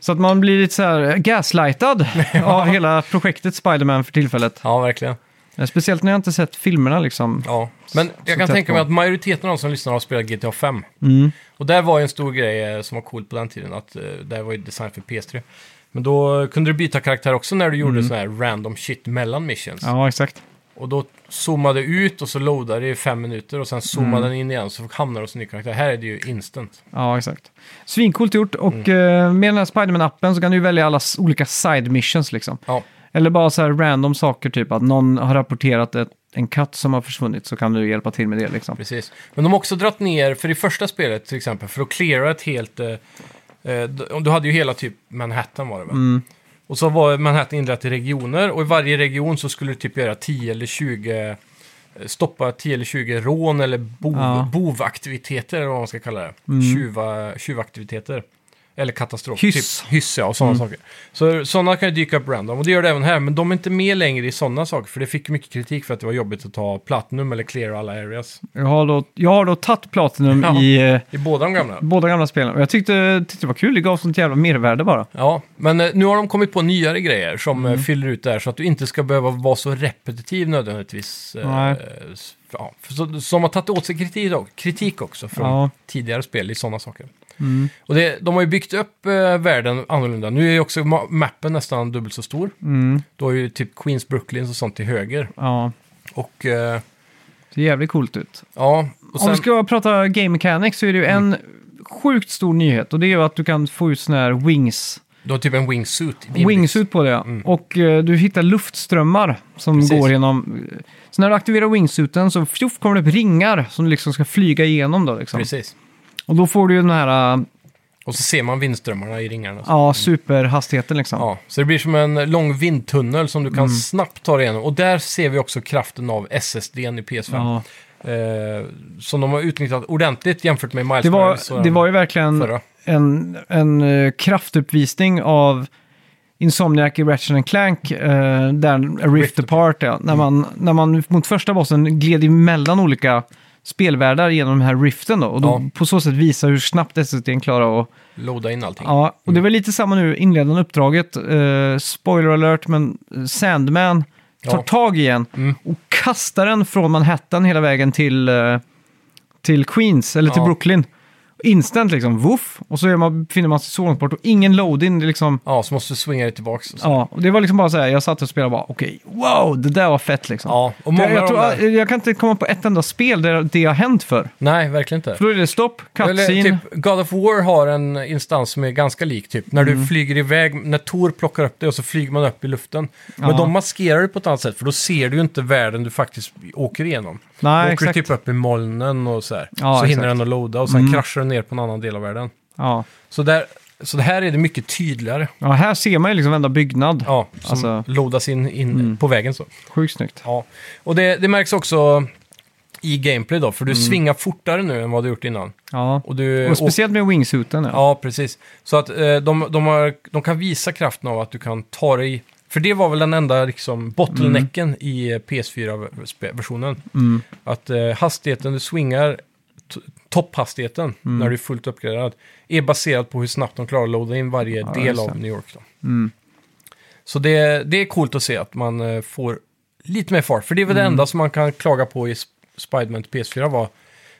A: Så att man blir lite så här uh, gaslightad av hela projektet Spider-Man för tillfället.
B: ja, verkligen.
A: Eh, Speciellt när jag inte sett filmerna liksom.
B: Ja. Men jag kan
A: tätt
B: tänka mig
A: på.
B: att majoriteten av de som lyssnar har spelat GTA 5.
A: Mm.
B: Och där var ju en stor grej eh, som var cool på den tiden, att eh, det här var ju design för PS3. Men då kunde du byta karaktär också när du gjorde sån här random shit mellan missions.
A: Mm. Ja, exakt.
B: Och då zoomade det ut och så loadade det i fem minuter och sen zoomade den in igen så hamnade det hos en ny karaktär. Här är det ju instant.
A: Ja, exakt. Svinkult gjort och
B: Mm.
A: eh, med den här Spider-Man-appen så kan du ju välja alla s- olika side missions liksom.
B: Ja,
A: Eller bara så här random saker, typ att någon har rapporterat ett, en katt som har försvunnit så kan du hjälpa till med det liksom.
B: precis. Men de har också dratt ner, för i första spelet till exempel, för att cleara ett helt... Eh, eh, du du hade ju hela typ Manhattan var det väl?
A: Mm.
B: Och så var Manhattan indelat i regioner och i varje region så skulle du typ göra 10 eller 20... eh, Stoppa 10 eller 20 rån eller bov,
A: Ja. Mm.
B: bovaktiviteter eller vad man ska kalla det. Tjuva, tjuvaktiviteter. Eller katastrof.
A: Hyss. Mm.
B: Typ, hyss ja, och sådana saker. Så sådana kan ju dyka upp random. Och det gör det även här. Men de är inte med längre i sådana saker. För det fick mycket kritik för att det var jobbigt att ta platinum eller clear alla areas.
A: Jag har då, jag har då tagit Platinum
B: Ja.
A: i... eh,
B: I båda de gamla.
A: Båda gamla spelen. Och jag tyckte, tyckte det var kul, det gav sånt jävla mervärde bara.
B: Ja, men eh, nu har de kommit på nyare grejer som
A: Mm.
B: eh, fyller ut det här så att du inte ska behöva vara så repetitiv nödvändigtvis. eh,
A: Nej.
B: eh, s- Ja, för så, som har tagit åt sig kritik, dock- kritik också från
A: Ja.
B: tidigare spel i sådana saker. Och det, de har ju byggt upp eh, världen annorlunda. Nu är ju också ma- mappen nästan dubbelt så stor.
A: Mm.
B: Då har ju typ Queens Brooklyn och sånt till höger.
A: Ja,
B: Och eh,
A: det är jävligt coolt ut.
B: ja, och
A: Om
B: sen...
A: vi ska prata game mechanics så är det ju en sjukt stor nyhet och det är ju att du kan få ut sådana här wings.
B: Du har typ en wingsuit. inbyggd.
A: Wingsuit på det, ja. Och eh, du hittar luftströmmar som
B: Mm. Precis.
A: går genom... Så när du aktiverar wingsuiten så fjoff, kommer det upp ringar som du liksom ska flyga igenom då liksom.
B: Precis.
A: Och då får du ju den här, eh,
B: Och så ser man vindströmmarna i ringarna.
A: ja, superhastigheten liksom.
B: Ja, så det blir som en lång vindtunnel som du
A: Mm.
B: kan snabbt ta dig igenom. Och där ser vi också kraften av SSDn i PS5.
A: Ja.
B: Eh, som de har utnyttjat ordentligt jämfört med Miles
A: Det
B: Morales och
A: var, det
B: den
A: var ju verkligen...
B: förra.
A: en, en eh, kraftuppvisning av Insomniac i Ratchet and Clank, eh, där A Rift
B: Rift Mm.
A: Apart, ja, när, man, när man mot första bossen gled emellan olika spelvärldar genom den här riften då. Och då
B: Ja.
A: på så sätt visa hur snabbt SSD klarar att...
B: Loda in allting. Mm.
A: Ja, och det var lite samma nu, inledande uppdraget. Eh, spoiler alert, men Sandman tar
B: Ja.
A: tag i en
B: Mm.
A: och kastar den från Manhattan hela vägen till, eh, till Queens, eller till
B: Ja.
A: Brooklyn. Instant liksom, woof! Och så är man, finner man sig så långt bort och ingen load-in. det är Liksom,
B: Ja, så måste du swinga dig tillbaks. Och så.
A: ja, och det var liksom bara så här, jag satt och spelade och bara okej, wow, det där var fett liksom.
B: Ja, och
A: Det-
B: många
A: jag,
B: av
A: tror,
B: de där...
A: jag, jag kan inte komma på ett enda spel där det har hänt för.
B: Nej, verkligen inte.
A: För då är det stopp, cutscene.
B: Eller typ, God of War har en instans som är ganska lik, typ när
A: Mm.
B: du flyger iväg, när Tor plockar upp dig och så flyger man upp i luften. Men
A: Ja.
B: de maskerar det på ett annat sätt, för då ser du ju inte världen du faktiskt åker igenom.
A: Nej,
B: då åker
A: exakt.
B: du typ upp i molnen och så här.
A: Ja,
B: så hinner
A: exakt. Mm.
B: den att loada och sen kraschar den ner på en annan del av världen.
A: ja.
B: Så, där, så det här är det mycket tydligare.
A: ja, här ser man ju liksom enda byggnad.
B: Ja, som
A: Alltså- Mm.
B: loadas in, in på vägen så.
A: Sjukt snyggt.
B: Ja, och det, det märks också i gameplay då, för du svingar fortare nu än vad du gjort innan.
A: Ja.
B: Och du
A: Mm. Och speciellt med wingsuiten. Ja.
B: Ja, precis. Så att eh, de, de, har, de kan visa kraften av att du kan ta dig... För det var väl den enda liksom, bottlenecken i eh, PS4-versionen.
A: Mm.
B: Att eh, hastigheten du swingar, t- topphastigheten,
A: Mm.
B: när du är fullt uppgraderad, är baserad på hur snabbt de klarar att loada in varje
A: Ja,
B: del
A: just
B: av
A: det.
B: New York. Då.
A: Mm.
B: Så det, det är coolt att se att man eh, får lite mer fart. För det är
A: Mm.
B: väl det enda som man kan klaga på i Sp- Spiderman till PS4 var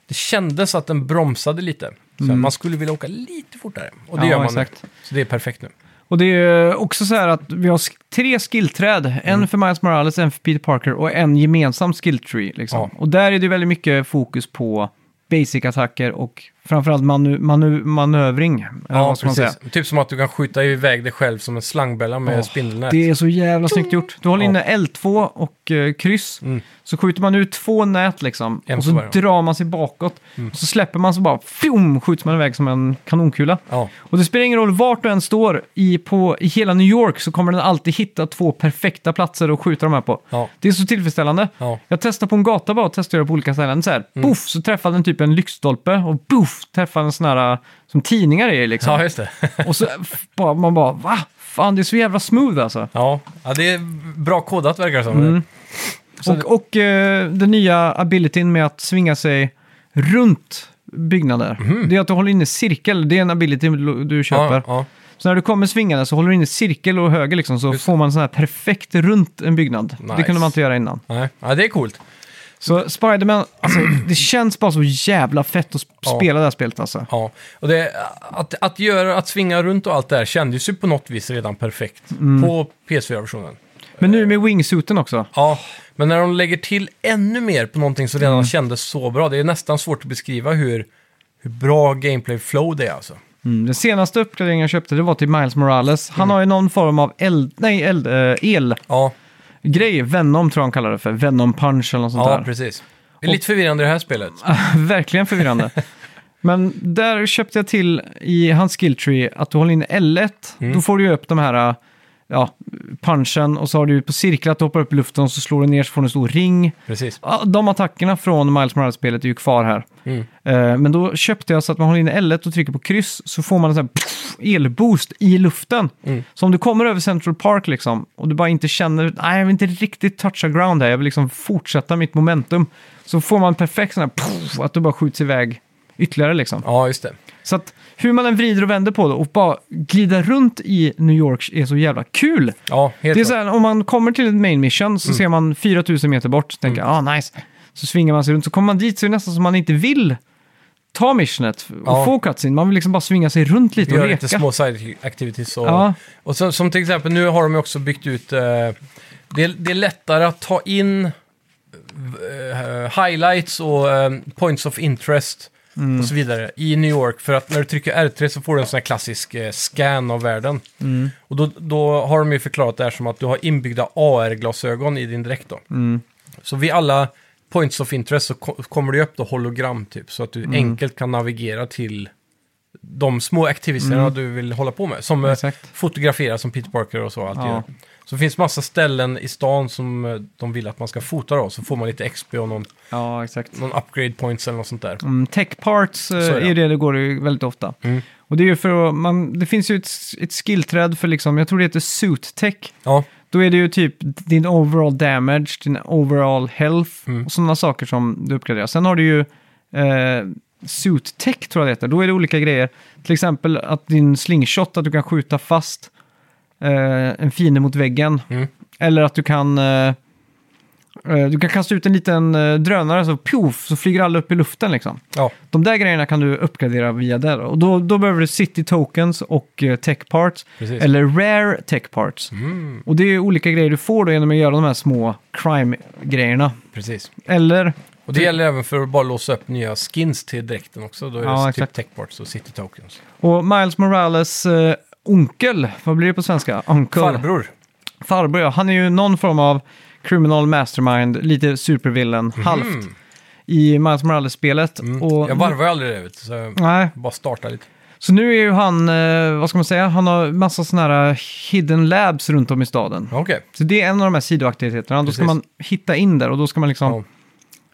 B: det kändes att den bromsade lite. Så här, Man skulle vilja åka lite fortare. Och det
A: Mm. Ja,
B: gör man
A: exakt.
B: nu. Så det är perfekt nu.
A: Och det är ju också så här att vi har sk- tre skillträd.
B: Mm.
A: En för Miles Morales, en för Peter Parker och en gemensam skilltree. Liksom.
B: Ja.
A: Och där är det väldigt mycket fokus på basic-attacker och framförallt manu- manu- manövring. eller vad ska man säga.
B: Typ som att du kan skjuta iväg dig själv som en slangbella med
A: Åh,
B: spindelnät.
A: Det är så jävla snyggt gjort. Du håller
B: Ja.
A: inne L2 och eh, kryss.
B: Mm.
A: Så skjuter man ut två nät liksom.
B: En
A: och
B: på
A: så
B: varje. Mm.
A: drar man sig bakåt. Och så släpper man så bara, fjum, skjuts man iväg som en kanonkula.
B: Ja,
A: Och det spelar ingen roll vart du än står i, på, i hela New York så kommer den alltid hitta två perfekta platser att skjuta de här på.
B: ja,
A: Det är så tillfredsställande.
B: ja. Mm.
A: Jag testade på en gata bara och testade på olika ställen. Så här, Boff, så träffade den typ en lyktstolpe och boff, träffade en sån här äh, som tidningar är liksom.
B: Ja, just det.
A: Och så f- bara, man bara, va? Fan, det är så jävla smooth alltså.
B: ja. ja, det är bra kodat verkar det som.
A: Mm, Och, och eh, den nya abilityn med att svinga sig runt byggnader. Det är att du håller inne cirkel, det är en ability du köper.
B: Mhm. Ja, ja.
A: Så när du kommer svingande så håller du in i cirkel och höger liksom, så
B: Just det.
A: får man sån här perfekt runt en byggnad.
B: Nice.
A: Det kunde man inte göra innan.
B: Nej. ja, det är coolt.
A: Så Spiderman, alltså, det känns bara så jävla fett att sp-
B: Ja.
A: spela det här spelet alltså.
B: Ja, och det, att, att, göra, att svinga runt och allt det här kändes ju på något vis redan perfekt
A: Mm.
B: på PS4-versionen.
A: Men nu med wingsuiten också.
B: Ja, men när de lägger till ännu mer på någonting som redan
A: Mm.
B: kändes så bra, det är nästan svårt att beskriva hur, hur bra gameplay flow det är alltså.
A: Mm. Den senaste uppgraderingen jag köpte det var till Miles Morales.
B: Mm.
A: Han har ju någon form av eld, nej, eld, eh,
B: Ja,
A: elgrej, Venom tror jag han kallar det för. Venom punch eller något sånt
B: ja
A: där. Ah.
B: precis. Det är lite förvirrande i det här spelet.
A: Verkligen förvirrande. Men där köpte jag till i hans skilltree att du håller in L1, då får du ju upp de här äh, ja, punchen och så har du på cirklar att du hoppar upp i luften och så slår du ner så får du en stor ring.
B: Precis.
A: Ja, De attackerna från Miles Morales-spelet är ju kvar här.
B: Mm.
A: Eh, Men då köpte jag så att man håller in L1 och trycker på kryss så får man en sån här pff, elboost i luften.
B: Mm.
A: Så om du kommer över Central Park liksom och du bara inte känner, nej jag vill inte riktigt toucha ground här, jag vill liksom fortsätta mitt momentum. Så får man perfekt sån här pff, att du bara skjuts iväg ytterligare liksom.
B: Ja, just det.
A: Så att hur man än vrider och vänder på det och bara glida runt i New York är så jävla kul.
B: Ja, helt
A: Det är
B: klart. Mm.
A: så här, om man kommer till en main mission så ser man 4000 meter bort, så tänker ah nice. Så svingar man sig runt, så kommer man dit så är det nästan som man inte vill ta missionet och
B: Ja.
A: få cutscene. Man vill liksom bara svinga sig runt lite och
B: Gör
A: leka.
B: lite små side activities. Och,
A: Ja.
B: och så, som till exempel, nu har de ju också byggt ut... Eh, det, är- det är lättare att ta in eh, highlights och eh, points of interest
A: Mm.
B: och så vidare i New York. För att när du trycker R3 så får du en sån här klassisk eh, scan av världen.
A: Mm.
B: Och då, då har de ju förklarat det här som att du har inbyggda AR-glasögon i din dräkt då.
A: Mm.
B: Så vid alla points of interest så ko- kommer det ju upp då hologram typ. Så att
A: Mm.
B: du enkelt kan navigera till de små aktivisterna du vill hålla på med. Som eh,
A: Mm. Exakt.
B: fotografera som Peter Parker och så. Allt
A: Ja.
B: gör. Så det finns massa ställen i stan som eh, de vill att man ska fota då. Så får man lite XP och någon,
A: Ja, exakt.
B: någon upgrade points eller något sånt där.
A: Mm, tech parts eh,
B: Så är det.
A: är det, det går ju väldigt ofta.
B: Mm.
A: Och det är ju för att man, det finns ju ett, ett skillträd för liksom, jag tror det heter suit tech.
B: Ja,
A: Då är det ju typ din overall damage, din overall health
B: Mm.
A: och sådana saker som du uppgraderar. Sen har du ju eh, suit tech tror jag det heter. Då är det olika grejer. Till exempel att din slingshot, att du kan skjuta fast eh, en fiende mot väggen.
B: Mm.
A: Eller att du kan... Eh, eh, du kan kasta ut en liten eh, drönare så pjoff, så flyger alla upp i luften liksom.
B: Ja,
A: De där grejerna kan du uppgradera via där. Och då, då behöver du city tokens och eh, tech parts.
B: precis.
A: Eller rare tech parts.
B: Mm,
A: Och det är ju olika grejer du får då genom att göra de här små crime-grejerna.
B: precis.
A: Eller,
B: Och det gäller även för att bara låsa upp nya skins till dräkten också. Då är
A: Ja,
B: det
A: exakt.
B: typ techparts och city tokens.
A: och Miles Morales eh, onkel, vad blir det på svenska? Uncle.
B: Farbror.
A: Farbror, ja. Han är ju någon form av criminal mastermind, lite supervillain, halvt. I Miles Morales-spelet.
B: Mhm. Mm.
A: Och-
B: Jag varvar ju aldrig det, vet, du, så jag
A: Nej,
B: bara startar lite.
A: Så nu är ju han, eh, vad ska man säga, han har massa sådana här hidden labs runt om i staden.
B: Ja, Okej.
A: Så det är en av de här sidoaktiviteterna. Då ska
B: Precis.
A: man hitta in där och då ska man liksom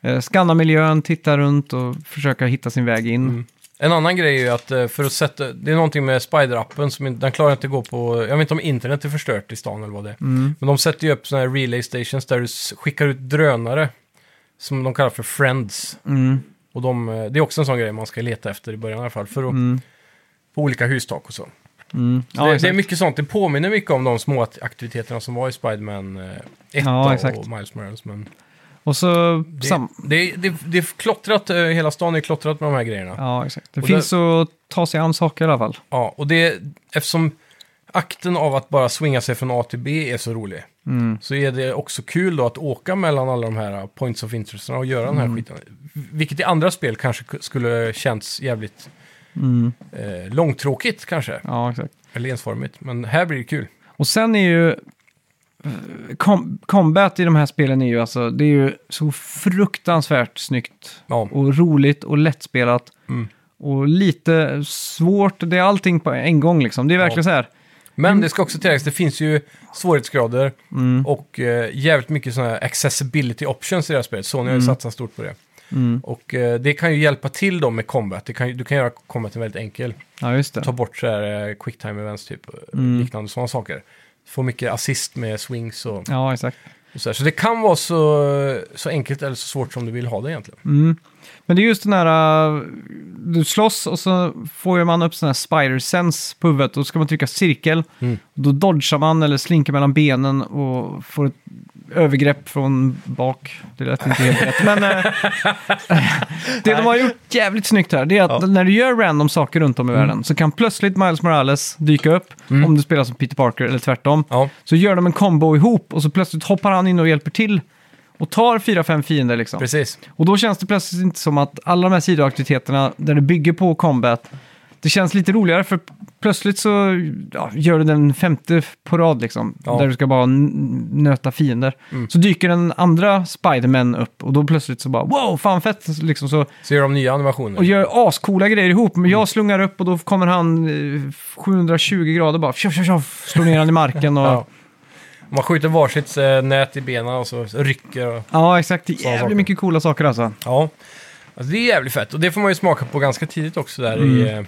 A: eh, skanna miljön, titta runt och försöka hitta sin väg in.
B: Mm. En annan grej är ju att eh, för att sätta, det är någonting med Spider-appen som inte- den klarar inte att gå på, jag vet inte om internet är förstört i stan eller vad det är.
A: Mm.
B: Men de sätter ju upp sådana här relay stations där du s- skickar ut drönare som de kallar för friends.
A: Mm.
B: Och de, eh, det är också en sån grej man ska leta efter i början i alla fall, för att, på olika hustak och så.
A: Mm.
B: Så det, det är
A: exakt.
B: mycket sånt, det påminner mycket om de små att- aktiviteterna som var i Spider-Man eh, 1
A: Ja,
B: då,
A: exakt.
B: och Miles Morales. Men
A: Och så...
B: det,
A: Sam...
B: det, det, det är klottrat, eh, hela stan är klottrat med de här grejerna.
A: Ja, exakt. Det
B: Och
A: finns att ta sig an saker i alla fall.
B: Ja, och det, eftersom akten av att bara swinga sig från A till B är så rolig,
A: Mm.
B: så är det också kul då att åka mellan alla de här eh, points of interesterna och göra
A: Mm.
B: den här skiten. Vilket i andra spel kanske k- skulle känts jävligt eh, långtråkigt kanske,
A: Mm. Ja, exakt.
B: eller ensformigt. Men här blir det kul.
A: Och sen är ju... eh, Com combat i de här spelen är ju alltså, det är ju så fruktansvärt snyggt
B: Ja,
A: och roligt och lättspelat.
B: Mm.
A: Och lite svårt, det är allting på en gång liksom. Det är verkligen så här,
B: men det ska också tilläggas, det finns ju svårighetsgrader och eh, jävligt mycket sådana här accessibility options i det här spelet. Sony har ju satsat stort på det. Och eh, det kan ju hjälpa till då med combat. Det kan, ju- du kan göra combaten väldigt enkel.
A: ja just
B: ta
A: det.
B: bort så här eh, quick time events typ, eh, liknande sådana saker. Få mycket assist med swings och,
A: Ja, exakt.
B: och så här. Så det kan vara så, så enkelt eller så svårt som du vill ha det egentligen.
A: Men det är just den här, äh, du slåss och så får ju man upp sån här spider sense på huvudet och då ska man trycka cirkel.
B: Mm.
A: Då dodgar man eller slinker mellan benen och får ett övergrepp från bak. Det lät inte helt rätt. Men äh, det de har gjort jävligt snyggt här, det är att
B: Ja. Mm.
A: när du gör random saker runt om i världen så kan plötsligt Miles Morales dyka upp om du spelar som Peter Parker eller tvärtom.
B: Ja,
A: Så gör de en combo ihop och så plötsligt hoppar han in och hjälper till. Och tar fyra, fem fiender liksom.
B: precis.
A: Och då känns det plötsligt inte som att alla de här sidoaktiviteterna där det bygger på combat, det känns lite roligare för plötsligt så ja, gör du den femte på rad liksom,
B: Ja. Mm.
A: där du ska bara n- nöta fiender. Så dyker den andra Spiderman upp och då plötsligt så bara wow, fan fett! Liksom så,
B: Så gör de nya animationer.
A: och gör ascoola grejer ihop, men
B: Mm.
A: jag slungar upp och då kommer han eh, 720 grader bara, tjoff, tjoff, tjoff, slår ner han i marken och... ja.
B: Ja. Man skjuter varsitt eh, nät i benen och så rycker och...
A: exakt. Det är
B: Såna
A: jävligt
B: saker.
A: mycket coola saker alltså.
B: Ja, alltså, det är jävligt fett. Och det får man ju smaka på ganska tidigt också där i, eh,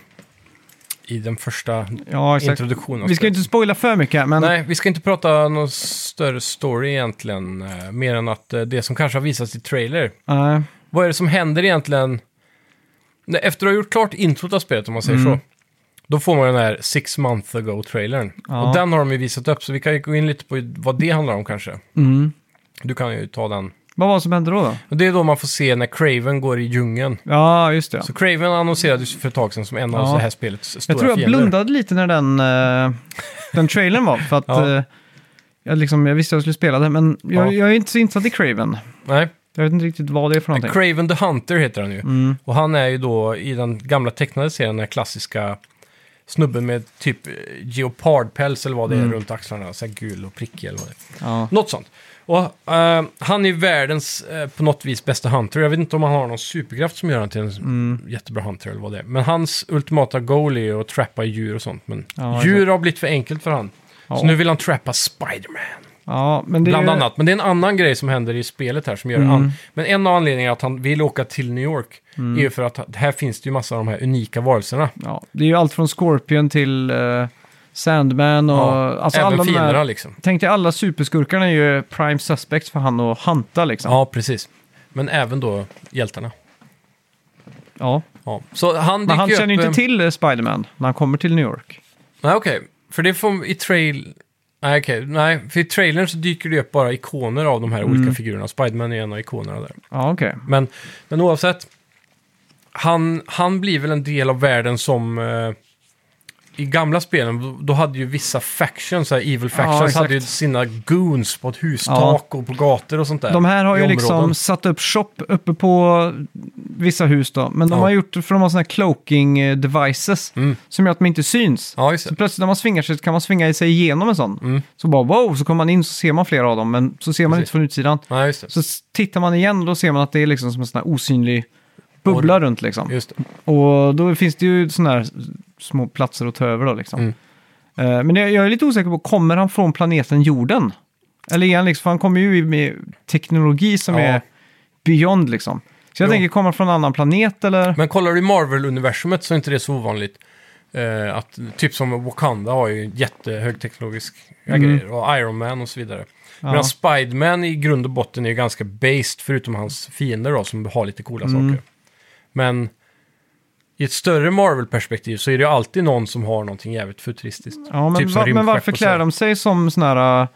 B: i den första
A: Ja, Mm. exakt.
B: introduktionen. av
A: Vi ska ju
B: spelet.
A: inte spoila för mycket här, men...
B: Nej, vi ska inte prata någon större story egentligen. eh, Mer än att eh, det som kanske har visats i trailer.
A: Nej.
B: Vad är det som händer egentligen? Nej, Efter att ha gjort klart introt av spelet, om man
A: Mm.
B: säger så, då får man den här Six Month Ago-trailern.
A: Ja.
B: Och den har de ju visat upp, så vi kan ju gå in lite på vad det handlar om kanske.
A: Mm.
B: Du kan ju ta den.
A: Vad var det som hände då? då?
B: Och det är då man får se när Craven går i djungeln.
A: Ja, just det.
B: Så Craven annonserades ju för ett tag sedan som en
A: Ja.
B: av det här spelets stora
A: jag tror jag
B: fiender.
A: blundade lite när den, eh, den trailern var. För att
B: Ja.
A: eh, jag, liksom, jag visste att jag skulle spela den, men jag,
B: Ja.
A: jag är inte så insatt i Craven.
B: Nej.
A: Jag vet inte riktigt vad det är för någonting. Mm.
B: Craven the Hunter heter han ju. Och han är ju då i den gamla tecknade serien den här klassiska snubben med typ eh, geopardpäls eller vad det är runt axlarna. Så här gul och prickig eller vad det är.
A: Mm. ja.
B: Något sånt. Och eh, han är ju världens eh, på något vis bästa hunter. Jag vet inte om han har någon superkraft som gör honom till en
A: Mm.
B: jättebra hunter eller vad det är. Men hans ultimata goal är ju att trappa djur och sånt. Men
A: Ja,
B: djur har blivit för enkelt för han.
A: Ja.
B: Så nu vill han trappa Spiderman.
A: ja, men det Mm.
B: Bland
A: är,
B: annat. Men det är en annan grej som händer i spelet här som gör an... Men en av anledningarna att han vill åka till New York
A: Mm.
B: är ju för att här finns det ju massa av de här unika varelserna.
A: Ja, det är ju allt från Scorpion till eh, Sandman och...
B: Ja,
A: alltså
B: även
A: alla de
B: fienderna
A: här,
B: liksom.
A: Tänk dig alla superskurkarna är ju prime suspects för han och hanta liksom.
B: Ja, precis. Men även då hjältarna.
A: Ja.
B: Ja. Så han dyker
A: Men han
B: ju
A: känner ju
B: upp,
A: inte
B: eh,
A: till eh, Spiderman när han kommer till New York.
B: Nej, okej. För det får i trail... Nej, okej. Nej, för i trailern så dyker det upp bara ikoner av
A: Mm.
B: de här olika figurerna. Spiderman är en av ikonerna där.
A: Ja, okej.
B: Men, men oavsett. Han, han blir väl en del av världen som... Eh, I gamla spelen, då- då hade ju vissa factions, så här evil factions,
A: exakt.
B: hade ju sina goons på ett hustak och på gator och sånt där.
A: De här har
B: i
A: ju
B: områden.
A: liksom satt upp shop uppe på vissa hus då. Men de
B: Ja.
A: har gjort, för de har sådana här cloaking eh, devices
B: Mm.
A: som gör att de inte syns.
B: Ja, just
A: Så
B: det.
A: plötsligt när man svingar sig så kan man svinga sig igenom en sån.
B: Mm.
A: Så bara wow, så kommer man in så ser man flera av dem, men så ser man
B: Precis.
A: inte från utsidan.
B: Ja, just det.
A: Så s- tittar man igen och då ser man att det är liksom som en sån här osynlig bubbla runt liksom.
B: Just det.
A: Och då finns det ju sådana här små platser att ta över då liksom.
B: Mm.
A: Eh, Men jag, jag är lite osäker på, kommer han från planeten jorden? Eller igen, liksom, för han kommer ju i- med teknologi som
B: Ja.
A: är beyond liksom. Så jag
B: Jo.
A: tänker, kommer han från en annan planet eller?
B: Men kollar du i Marvel-universumet så är inte det så ovanligt. Eh, att, typ som Wakanda har ju jättehögteknologisk
A: Mm.
B: grejer och Iron Man och så vidare.
A: Ja.
B: Medan Spiderman i grund och botten är ju ganska based, förutom hans fiender då, som har lite coola
A: Mm.
B: saker. Men i ett större Marvel-perspektiv så är det ju alltid någon som har någonting jävligt futuristiskt.
A: Ja, men,
B: typ som
A: va, men
B: rymdskepp
A: varför
B: och så här.
A: klär de sig som såna här...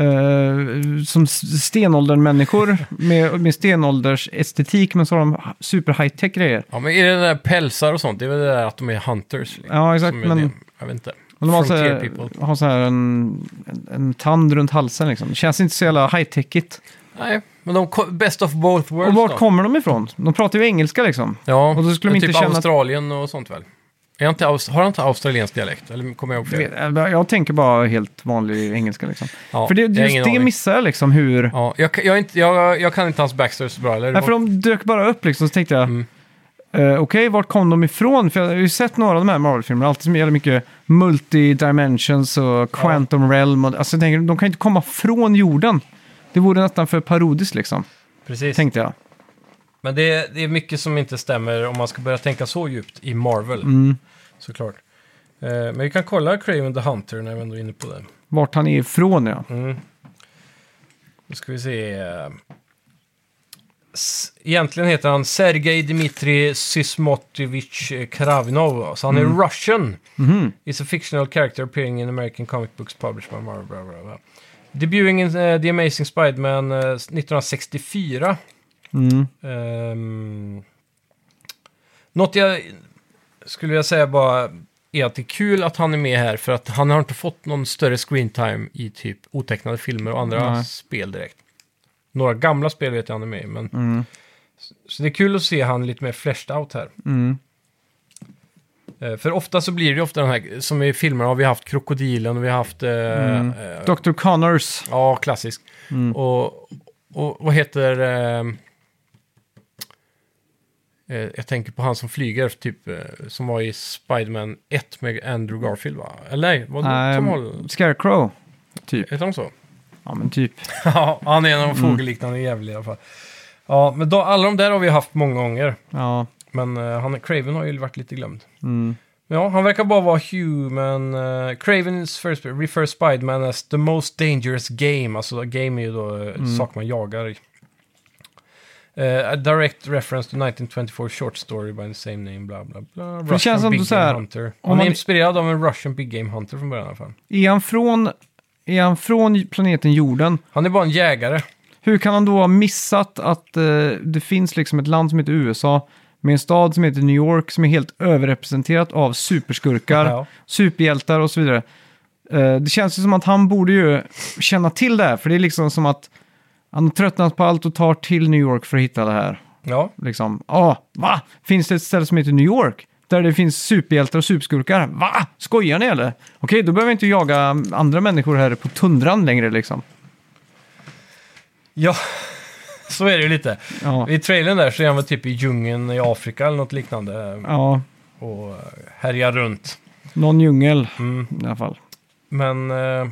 A: eh, som s- stenåldern-människor med, med stenålders estetik men så har de ha- super high-tech grejer.
B: Ja, men är det där pälsar och sånt? Det är väl det där att de är hunters? liksom,
A: Ja, exakt,
B: som är
A: men-
B: det. Jag vet inte.
A: Men de har så,
B: Frontier
A: här,
B: people.
A: har så här en, en, en tand runt halsen liksom. Det känns inte så jävla high-techigt.
B: Nej, men de ko- best of both worlds
A: Och
B: då.
A: vart kommer de ifrån? De pratar ju engelska liksom.
B: Ja,
A: Och då skulle de
B: men
A: inte
B: typ
A: känna att-
B: Australien och sånt väl? Är han inte, aus- har han inte australiensk dialekt? Eller kommer jag ihåg
A: Jag
B: fel?
A: vet- Jag tänker bara helt vanlig engelska liksom.
B: Ja,
A: För det,
B: jag har
A: just
B: ingen
A: det
B: aning.
A: missar jag liksom hur...
B: Ja, jag, kan- jag, är inte, jag, jag kan inte hans backstory så bra. Eller?
A: Nej, för de dök bara upp liksom, så tänkte jag,
B: Mm.
A: eh, okej, vart kom de ifrån? För jag har ju sett några av de här Marvel-filmerna, alltid som gäller mycket multidimensions och quantum realm. Och, alltså jag tänker, de kan ju inte komma från jorden. Det vore nästan för parodiskt liksom,
B: Precis.
A: tänkte jag.
B: Men det är, det är mycket som inte stämmer om man ska börja tänka så djupt i Marvel. Såklart. Eh, men vi kan kolla Craven the Hunter när vi ändå är inne på det.
A: Vart han är ifrån, ja.
B: Mm. Då ska vi se. eh, S- Egentligen heter han Sergej Dmitri Sysmotovich eh, Kravinov. Så han är Russian.
A: Mhm.
B: is a fictional character appearing in American comic books published by Marvel. Blah, blah, blah. Debuting in eh, The Amazing Spider-Man eh, 1964.
A: Mm.
B: Ehm, något jag skulle jag säga bara är att det är kul att han är med här för att han har inte fått någon större screentime i typ otecknade filmer och andra
A: Nej.
B: spel direkt. Några gamla spel vet jag han är med i, men
A: Mm.
B: så det är kul att se han lite mer fleshed out här.
A: Mm.
B: Eh, För ofta så blir det ju ofta den här, som i filmerna har vi haft krokodilen och vi har haft... Eh,
A: Mm.
B: eh,
A: Dr. Connors.
B: ja, klassisk.
A: Mm.
B: Och, och vad heter... Eh, eh, jag tänker på han som flyger, typ, eh, som var i Spiderman 1 med Andrew Garfield, va? Eller nej, var det Tom
A: Um,
B: Holland?
A: Scarecrow, typ.
B: Heter han så? Mm.
A: Ja, men typ.
B: Ja, han är en av de fågelliknande jävla i alla fall. Ja, men då, alla de där har vi haft många gånger.
A: Ja.
B: Men eh, han, Craven har ju varit lite glömd.
A: Mm.
B: Ja, han verkar bara vara human. Uh, Cravens first refers Spiderman as the most dangerous game. Alltså game är ju då mm. saker man jagar. i. Eh, a direct reference to 1924 short story by the same name, bla bla bla. Russian
A: känns som
B: big
A: du så
B: game
A: här,
B: hunter.
A: om
B: Han
A: man-
B: är inspirerad av en Russian big game hunter från början i alla fall.
A: Är han från... Är han från planeten jorden?
B: Han är bara en jägare.
A: Hur kan han då ha missat att eh, det finns liksom ett land som heter USA med en stad som heter New York som är helt överrepresenterat av superskurkar,
B: Ja.
A: superhjältar och så vidare. Eh, det känns ju som att han borde ju känna till det här, för det är liksom som att han har tröttnat på allt och tar till New York för att hitta det här.
B: Ja,
A: Liksom, ah, va? Finns det ett ställe som heter New York? Där det finns superhjältar och superskurkar? Va? Skojar ni eller? Okej, då behöver vi inte jaga andra människor här på tundran längre liksom.
B: ja. så är det ju lite.
A: Ja,
B: I trailern där så är han väl typ i djungeln i Afrika eller något liknande eh,
A: ja
B: och eh, härjar runt.
A: någon djungel.
B: Mm.
A: i alla fall.
B: Men... eh, ja,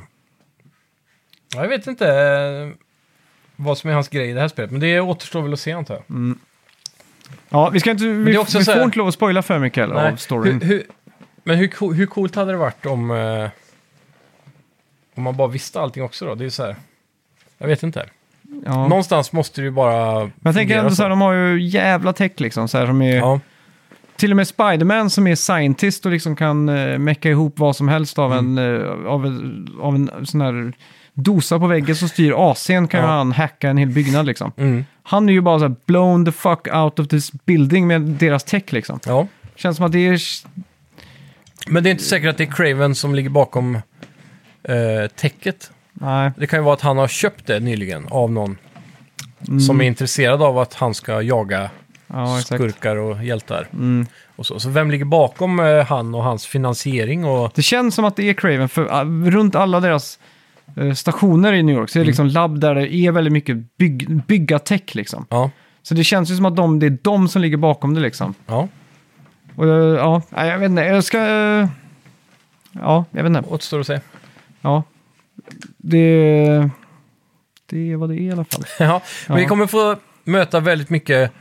B: jag vet inte eh, vad som är hans grej i det här spelet. Men det återstår väl att se antar jag.
A: Mm, Ja, vi ska inte, vi,
B: det är också
A: vi
B: så
A: får
B: här-
A: inte lov att spoila för mycket heller av
B: Nej.
A: storyn.
B: Hur, hur, Men hur, co- hur coolt hade det varit om, eh, om man bara visste allting också då? Det är ju så här. Jag vet inte.
A: Ja. Men
B: Någonstans måste det ju bara...
A: jag tänker ändå så här, de har ju jävla tech liksom. Så här, som är,
B: Ja,
A: Till och med Spiderman som är scientist och liksom kan uh, mecka ihop vad som helst av,
B: Mm.
A: en, eh, av, en, av en sån här dosa på väggen som styr AC'n kan
B: Ja.
A: ju han hacka en hel byggnad liksom.
B: mm.
A: Han är ju bara så här blown the fuck out of this building med deras tech liksom.
B: ja.
A: Känns som att det är...
B: Men det är inte säkert att det är Craven som ligger bakom eh, täcket.
A: Nej.
B: Det kan ju vara att han har köpt det nyligen av någon
A: Mm.
B: som är intresserad av att han ska jaga
A: Ja, exakt.
B: skurkar och hjältar. Och så. så vem ligger bakom eh, han och hans finansiering? Och...
A: Det känns som att det är Craven, för ah, runt alla deras eh, stationer i New York
B: Mm.
A: så är det liksom labb där det är väldigt mycket bygg, bygga-tech liksom.
B: Ja,
A: Så det känns ju som att de, det är de som ligger bakom det liksom.
B: ja.
A: Och eh, ja, nej, jag vet inte, jag ska... eh, Ja, jag vet inte.
B: återstår att se.
A: Ja. Det... Det är vad det är i alla fall.
B: ja. Men
A: Ja.
B: vi kommer få möta väldigt mycket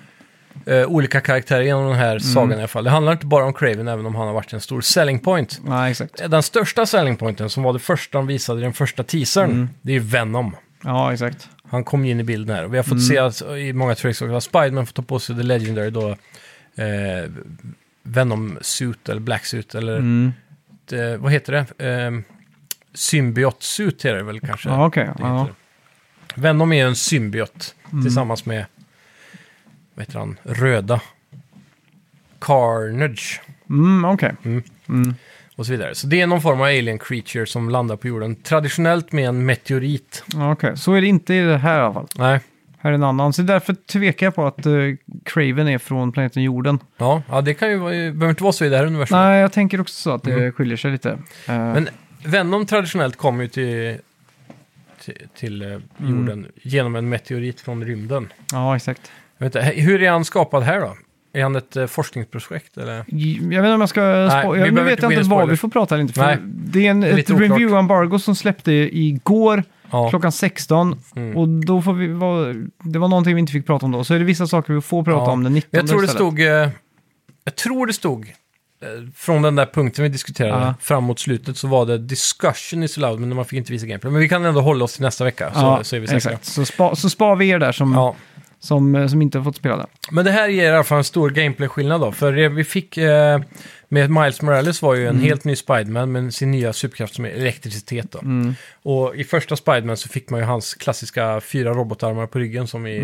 B: eh, olika karaktärer genom den här sagan i alla fall. Det handlar inte bara om Craven, även om han har varit en stor selling point.
A: Nej, exakt.
B: Den största selling pointen, som var det första de visade i den första teasern, det är ju Venom.
A: Ja, exakt.
B: Han kom ju in i bilden här. Och vi har fått
A: Mm.
B: se att, i många tricks också att Spiderman får ta på sig The Legendary då. Eh, Venom suit eller Black suit eller
A: Mm.
B: eh, vad heter det? Eh, symbiot suit heter det väl kanske?
A: Ja, okej.
B: Det
A: Ja. Mm.
B: heter det. Venom är ju en symbiot tillsammans med, vad heter han, röda. Carnage
A: Mm, okej.
B: och så vidare. Så det är någon form av alien creature som landar på jorden. Traditionellt med en meteorit.
A: Ja, okej. Så är det inte i det här i alla fall.
B: Nej,
A: Här är en annan. Så därför tvekar jag på att eh, Craven är från planeten jorden.
B: ja, ja det kan ju vara, det behöver inte vara så i det här universumet.
A: Nej, jag tänker också så att det skiljer sig lite. Eh,
B: Mm. Men Venom traditionellt kommer ju till, till, till
A: Mm.
B: eh, jorden genom en meteorit från rymden.
A: Ja, exakt.
B: Jag vet inte, hur är han skapad här då? Är han ett eh, forskningsprojekt eller?
A: Jag vet inte om jag ska... Spo-
B: vi
A: jag, nu
B: behöver
A: vet
B: inte
A: jag
B: gå in
A: inte
B: i
A: vad
B: spoilers.
A: vi får prata eller inte. För
B: Nej.
A: det är en,
B: är
A: ett
B: lite oklart.
A: review-embargo som släppte igår
B: Ja. Mm.
A: klockan 16. Och då får vi... vara- Det var någonting vi inte fick prata om då. Så är det vissa saker vi får prata
B: Ja.
A: om den 19
B: Jag tror det
A: istället.
B: stod, eh, jag tror det stod eh, från den där punkten vi diskuterade
A: Ja.
B: framåt slutet så var det discussion is allowed men man fick inte visa gameplay. Men vi kan ändå hålla oss till nästa vecka så,
A: Ja,
B: så är vi säkra.
A: exakt. Mm. Så, spa, så spar vi er där som,
B: Ja.
A: som, eh, som inte har fått spela det.
B: Men det här ger i alla fall en stor gameplay-skillnad då. För det vi fick eh, med Miles Morales var ju
A: Mm.
B: en helt ny Spiderman med sin nya superkraft som är elektricitet då.
A: Mm.
B: Och i första Spiderman så fick man ju hans klassiska fyra robotarmar på ryggen som, i,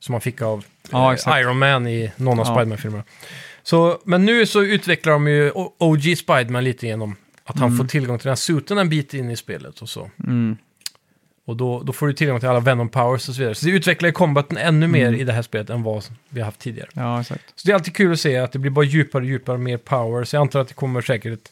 B: som man fick av
A: Mm. Ja,
B: eh,
A: exakt.
B: Iron Man i någon av
A: Ja.
B: Spiderman-filmerna. Så, men nu så utvecklar de ju O- OG Spiderman lite genom att
A: Mm.
B: han får tillgång till den här suiten en bit in i spelet och så. Och då, då får du tillgång till alla Venom Powers och så vidare. Så det utvecklar ju combaten ännu mer
A: Mm.
B: i det här spelet än vad vi har haft tidigare.
A: Ja, exakt.
B: Så det är alltid kul att se att det blir bara djupare och djupare, mer power. Så jag antar att det kommer säkert ett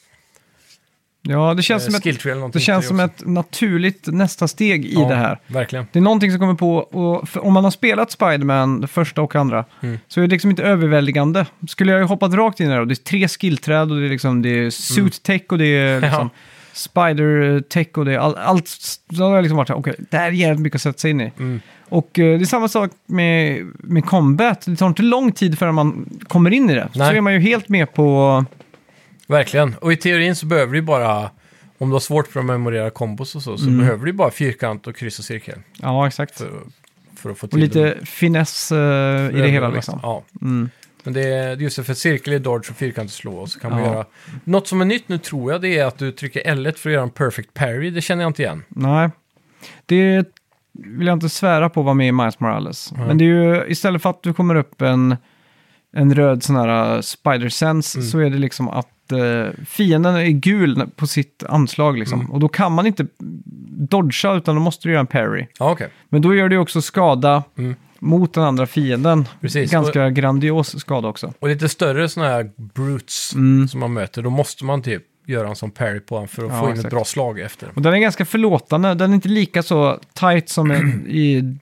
A: Ja, det
B: eh,
A: känns som ett,
B: skill tree eller
A: det
B: någonting.
A: känns
B: till
A: som
B: också.
A: ett naturligt nästa steg i
B: Ja,
A: det här.
B: Verkligen.
A: Det är någonting som kommer på, och för om man har spelat Spider-Man, det första och andra,
B: Mm.
A: så är det liksom inte överväldigande. Skulle jag ju hoppat rakt in här och det är tre skillträd och det är liksom, det
B: Mm.
A: är suit tech och det är liksom spider tech och det är all, allt, så har jag liksom varit så här, okej, det här är jävligt mycket att sätta sig in i.
B: Mm.
A: Och eh, det är samma sak med, med combat, det tar inte lång tid förrän man kommer in i det. Så
B: Nej.
A: är man ju helt med på,
B: Verkligen. Och i teorin så behöver du ju bara, om du har svårt för att memorera kombos och så,
A: Mm.
B: så behöver du ju bara fyrkant och kryss och cirkel
A: ja exakt.
B: för, eh, för att få till
A: Och
B: dem.
A: lite finess eh, i det hela liksom.
B: Ja. Men det är just det, för cirkel är dodge och fyrkant är slå. Och så kan man
A: Ja.
B: göra... Något som är nytt nu tror jag det är att du trycker L1 för att göra en perfect parry. Det känner jag inte igen.
A: Nej, det vill jag inte svära på var med i Miles Morales. Men det är ju istället för att du kommer upp en, en röd sån här uh, spider sense så är det liksom att eh, fienden är gul på sitt anslag liksom. Och då kan man inte dodga utan då måste du göra en parry.
B: Ja, okej.
A: Men då gör du ju också skada mot den andra fienden.
B: Precis.
A: Ganska grandios skada också.
B: Och lite större sådana här brutes som man möter, då måste man typ göra en sån parry på honom för att
A: Mm. Ja,
B: få in
A: exakt.
B: ett bra slag efter.
A: Och den är ganska förlåtande. Den är inte lika så tight som en- i,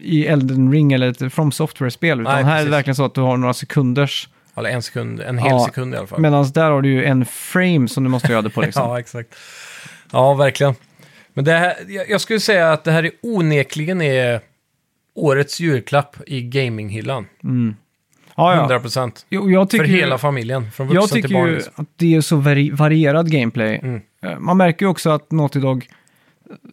A: i Elden Ring eller ett From Software-spel. Utan
B: Nej,
A: här är det
B: precis.
A: verkligen så att du har några sekunders.
B: Eller en sekund, en hel
A: Ja,
B: sekund i alla fall.
A: Medan där har du ju en frame som du måste göra det på. Liksom.
B: Ja, exakt. Ja, verkligen. Men det här, jag, jag skulle säga att det här är onekligen är årets julklapp i gaminghyllan.
A: Ja, ja.
B: 100 procent.
A: Jo, jag tycker,
B: För hela familjen, från
A: Jag
B: vuxen
A: tycker
B: till barn.
A: ju
B: liksom.
A: att det är så vari- varierad gameplay.
B: Mm.
A: Eh, Man märker ju också att Naughty Dog,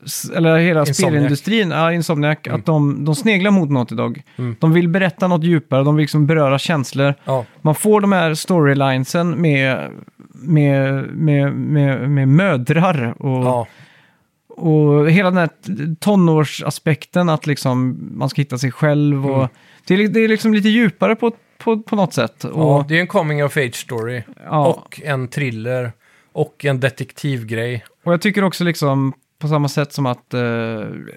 A: s- eller hela
B: Insomniac. Mm.
A: spelindustrin, ja, Insomniac, att de, de sneglar mot Naughty Dog. De vill berätta något djupare, de vill liksom beröra känslor.
B: Ja,
A: Man får de här storylinesen med, med, med, med, med mödrar och,
B: ja,
A: och hela den här t- tonårsaspekten att liksom man ska hitta sig själv.
B: Mm.
A: Och, det, är, det är liksom lite djupare på, på, på något sätt.
B: ja.
A: Och,
B: Det är en coming of age story.
A: ja.
B: Och en thriller. Och en detektivgrej.
A: Och jag tycker också liksom på samma sätt som att, eh,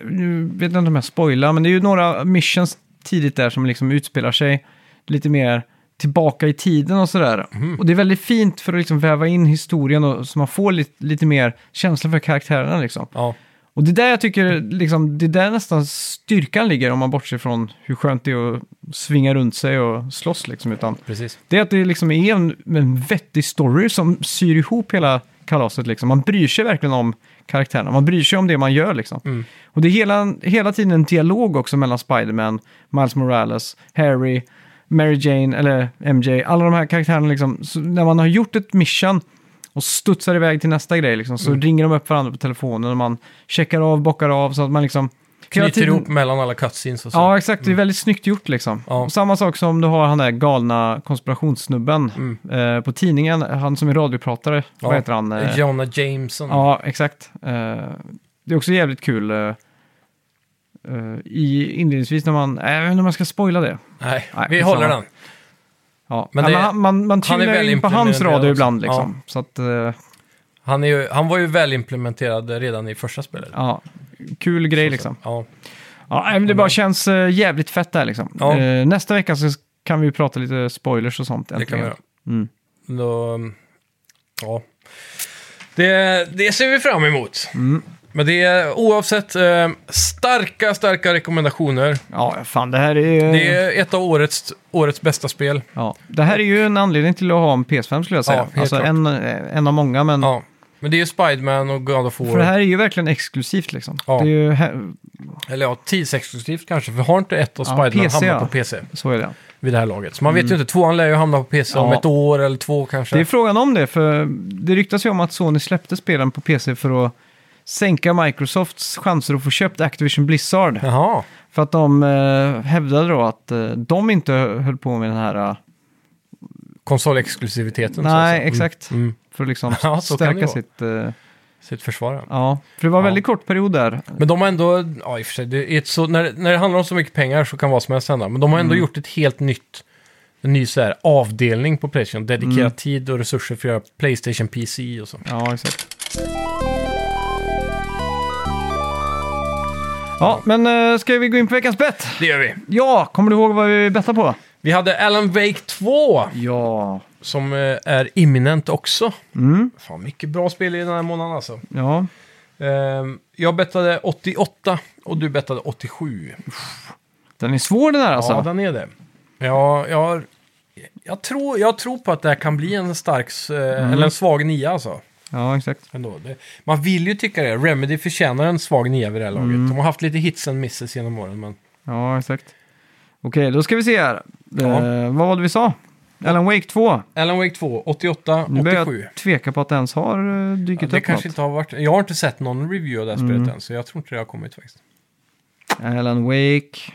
A: nu vet jag inte om jag spoilar, men det är ju några missions tidigt där som liksom utspelar sig lite mer tillbaka i tiden och sådär. Och det är väldigt fint för att liksom väva in historien och, så man får lite, lite mer känsla för karaktärerna liksom.
B: Ja,
A: Och det är där jag tycker, liksom, det är där nästan styrkan ligger om man bortser från hur skönt det är att svinga runt sig och slåss liksom. Utan
B: precis.
A: det är att det liksom är en, en vettig story som syr ihop hela kalaset. Liksom. Man bryr sig verkligen om karaktärerna, man bryr sig om det man gör. Liksom.
B: Mm.
A: Och det är hela, hela tiden en dialog också mellan Spiderman, Miles Morales, Harry, Mary Jane eller MJ. Alla de här karaktärerna, liksom, så när man har gjort ett mission och studsar iväg till nästa grej, liksom,
B: Mm.
A: så ringer de upp varandra på telefonen och man checkar av, bockar av så att man liksom... hela
B: Knyter
A: tiden-
B: ihop mellan alla cutscenes och så. Mm.
A: Ja, exakt. Det är väldigt snyggt gjort liksom.
B: Ja.
A: Och Samma sak som du har han där galna konspirationssnubben
B: Mm.
A: eh, på tidningen. Han som är radiopratare. Vad heter han? Eh, ja.
B: Jonah Jameson.
A: exakt. Eh, det är också jävligt kul. Eh, eh, i, inledningsvis när man... Äh, jag vet inte om jag ska spoila det.
B: Nej,
A: Nej,
B: vi
A: skitsamma.
B: håller den.
A: Ja.
B: Men
A: Men
B: det-
A: man, man, man
B: han är
A: trillar
B: väl
A: in på hans
B: implementerad
A: radio
B: också.
A: ibland liksom. Så att, eh,
B: Han, är ju, han var ju välimplementerad redan i första spelet.
A: ja. Kul grej liksom.
B: Ja,
A: Ja, nej, men det bara känns eh, jävligt fett där liksom.
B: Ja.
A: Eh, nästa vecka så kan vi prata lite spoilers och sånt.
B: det kan
A: äntligen.
B: vi göra. Då, mm, ja. det, det ser vi fram emot.
A: Mm.
B: Men det är oavsett eh, starka, starka rekommendationer.
A: Ja, fan det här är...
B: Det är ett av årets, årets bästa spel.
A: Ja, det här är ju en anledning till att ha en PS5 skulle jag
B: Ja,
A: säga.
B: helt
A: alltså
B: klart.
A: en, en av många, men
B: Ja. Men det är ju Spiderman och God of War.
A: för det här är ju verkligen exklusivt liksom.
B: Ja.
A: Det är ju här,
B: Eller ja, tidsexklusivt kanske. För har inte ett av
A: Ja,
B: Spiderman
A: PC,
B: hamnat
A: ja.
B: på PC
A: så är det.
B: vid det här laget? Så man vet ju inte. Tvåan lär ju hamna på PC om
A: Ja.
B: ett år eller två kanske.
A: Det är frågan om det, för det ryktas ju om att Sony släppte spelen på PC för att sänka Microsofts chanser att få köpt Activision Blizzard.
B: Jaha.
A: För att de eh, hävdade då att eh, de inte höll på med den här... eh,
B: konsolexklusiviteten. så att
A: nej,
B: säga. Mm.
A: exakt.
B: Mm.
A: För att liksom
B: Ja, så kan
A: stärka
B: det vara.
A: sitt... eh,
B: Sitt försvar, ja.
A: ja, för det var en
B: Ja.
A: väldigt kort period där.
B: Men de har ändå, ja i och för sig, det är ett så, när, när det handlar om så mycket pengar så kan vad som helst hända. Men de har ändå
A: Mm.
B: gjort ett helt nytt, en ny så här avdelning på Playstation. Dedikerat
A: Mm.
B: tid och resurser för att göra Playstation PC och så.
A: Ja, exakt. Ja, men eh, ska vi gå in på veckans bett?
B: Det gör vi.
A: Ja, kommer du ihåg vad vi bettade på?
B: Vi hade Alan Wake 2
A: Ja.
B: som eh, är imminent också.
A: Mm.
B: Fan, mycket bra spel i den här månaden alltså.
A: Ja,
B: Ehm, jag bettade 88 och du bettade 87.
A: den är svår den här alltså.
B: Ja, den är det. Ja, jag, har- jag, tror, jag tror på att det här kan bli en stark, s- eh,
A: Mm.
B: eller en svag nia alltså.
A: Ja, exakt.
B: Ändå. Det, man vill ju tycka det. Remedy förtjänar en svag nia vid det här laget.
A: Mm.
B: De har haft lite hits and misses genom åren, men
A: Ja, exakt. Okej, då ska vi se här.
B: Ja.
A: Eh, vad var det vi sa? Alan Wake 2.
B: Alan Wake 2, 88,
A: Nu börjar
B: 87.
A: jag tveka på att det ens har eh, dykt
B: Ja, det
A: upp något. Mm.
B: kanske inte har varit... Jag har inte sett någon review av det här spelet än, så jag tror inte det har kommit faktiskt.
A: Alan Wake.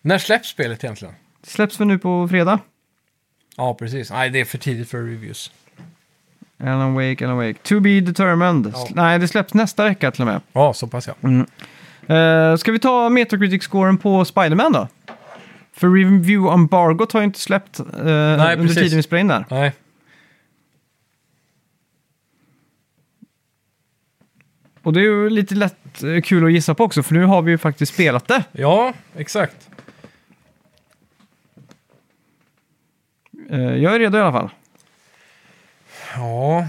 B: När släpps spelet egentligen?
A: Släpps väl nu på fredag?
B: Ja, precis. Nej, det är för tidigt för reviews.
A: Alan Wake, Alan Wake. To be determined.
B: Ja.
A: Sl- Nej, det släpps nästa vecka till och med.
B: Ja, så pass ja.
A: Eh, ska vi ta Metacritic-scoren på Spiderman då? För review-embargot har ju inte släppt eh, under
B: precis.
A: tiden vi spelade in där.
B: Nej.
A: Och det är ju lite lätt eh, kul att gissa på också, för nu har vi ju faktiskt spelat det.
B: Ja, exakt.
A: Eh, jag är redo i alla fall.
B: Ja.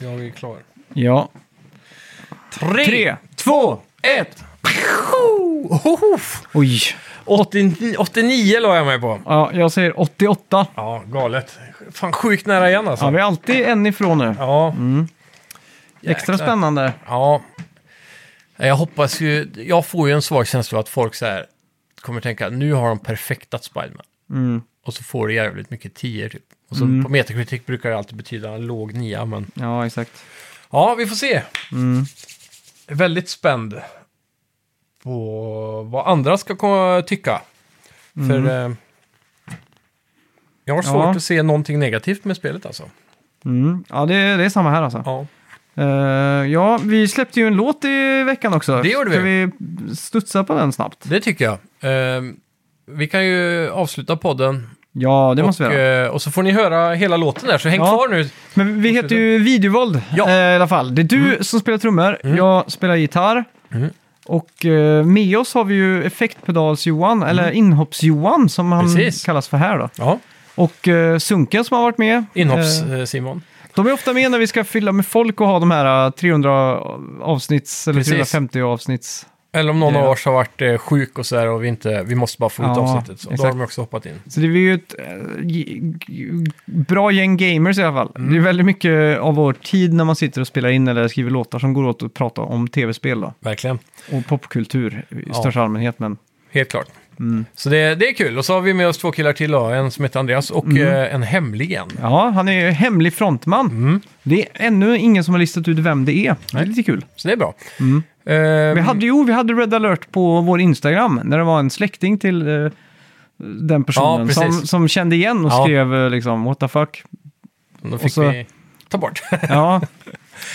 B: Jag är klar.
A: Ja.
B: Tre!
A: Tre, två,
B: ett!
A: Oj!
B: 89, 89 la jag mig på.
A: Ja, jag säger 88.
B: Ja, galet. Fan, sjukt nära igen alltså.
A: Ja, vi är alltid en ifrån nu.
B: Ja,
A: Extra
B: jäklar.
A: spännande.
B: ja. Jag hoppas ju, jag får ju en svag känsla av att folk så här kommer tänka nu har de perfektat Spiderman. Och så får det jävligt mycket tior typ. Och så på Metacritic brukar det alltid betyda en låg nia, men
A: Ja, exakt.
B: ja, vi får se. Jag är Väldigt spänd på vad andra ska komma, tycka. För eh, jag har svårt
A: Ja.
B: att se någonting negativt med spelet alltså.
A: Mm. Ja, det, det är samma här alltså.
B: Ja.
A: Eh, ja, vi släppte ju en låt i veckan också.
B: Det gjorde
A: Ska vi studsa på den snabbt?
B: Det tycker jag. Ehm, vi kan ju avsluta podden.
A: Ja, det måste vi
B: och,
A: göra.
B: eh, och så får ni höra hela låten där, så häng
A: Ja.
B: kvar nu.
A: Men vi heter ju Videovåld
B: Ja.
A: eh, i alla fall. Det är du som spelar trummor, jag spelar gitarr.
B: Mm.
A: Och eh, med oss har vi ju effektpedals-Johan, eller inhopps-Johan som han
B: Mm. Precis.
A: kallas för här då.
B: Ja,
A: Och eh, Sunken som har varit med. Eh,
B: inhopps-Simon.
A: De är ofta med när vi ska fylla med folk och ha de här eh, 300 avsnitts eller
B: Precis.
A: 350 avsnitts.
B: Eller om någon
A: ja.
B: av oss har varit eh, sjuk och så här och vi, inte, vi måste bara få ut
A: Ja,
B: avsnittet. Så då har
A: exakt.
B: de också hoppat in.
A: Så det är ju ett eh, g- g- bra gäng gamers i alla fall.
B: Mm.
A: Det är väldigt mycket av vår tid när man sitter och spelar in eller skriver låtar som går åt att prata om tv-spel då.
B: Verkligen.
A: Och popkultur i största allmänhet. Men
B: Helt klart.
A: Mm.
B: Så det, det är kul. Och så har vi med oss två killar till då. En som heter Andreas och
A: Mm.
B: eh, en hemlig en.
A: ja, han är ju hemlig frontman.
B: Mm.
A: Det är ännu ingen som har listat ut vem det är. Det är lite kul.
B: Så det är bra. Ehm,
A: Mm. Vi hade, jo, vi hade Red alert på vår Instagram när det var en släkting till eh, den personen
B: precis.
A: som, som kände igen och
B: Ja.
A: skrev eh, liksom what the fuck.
B: då fick
A: och så-
B: vi ta bort.
A: Ja,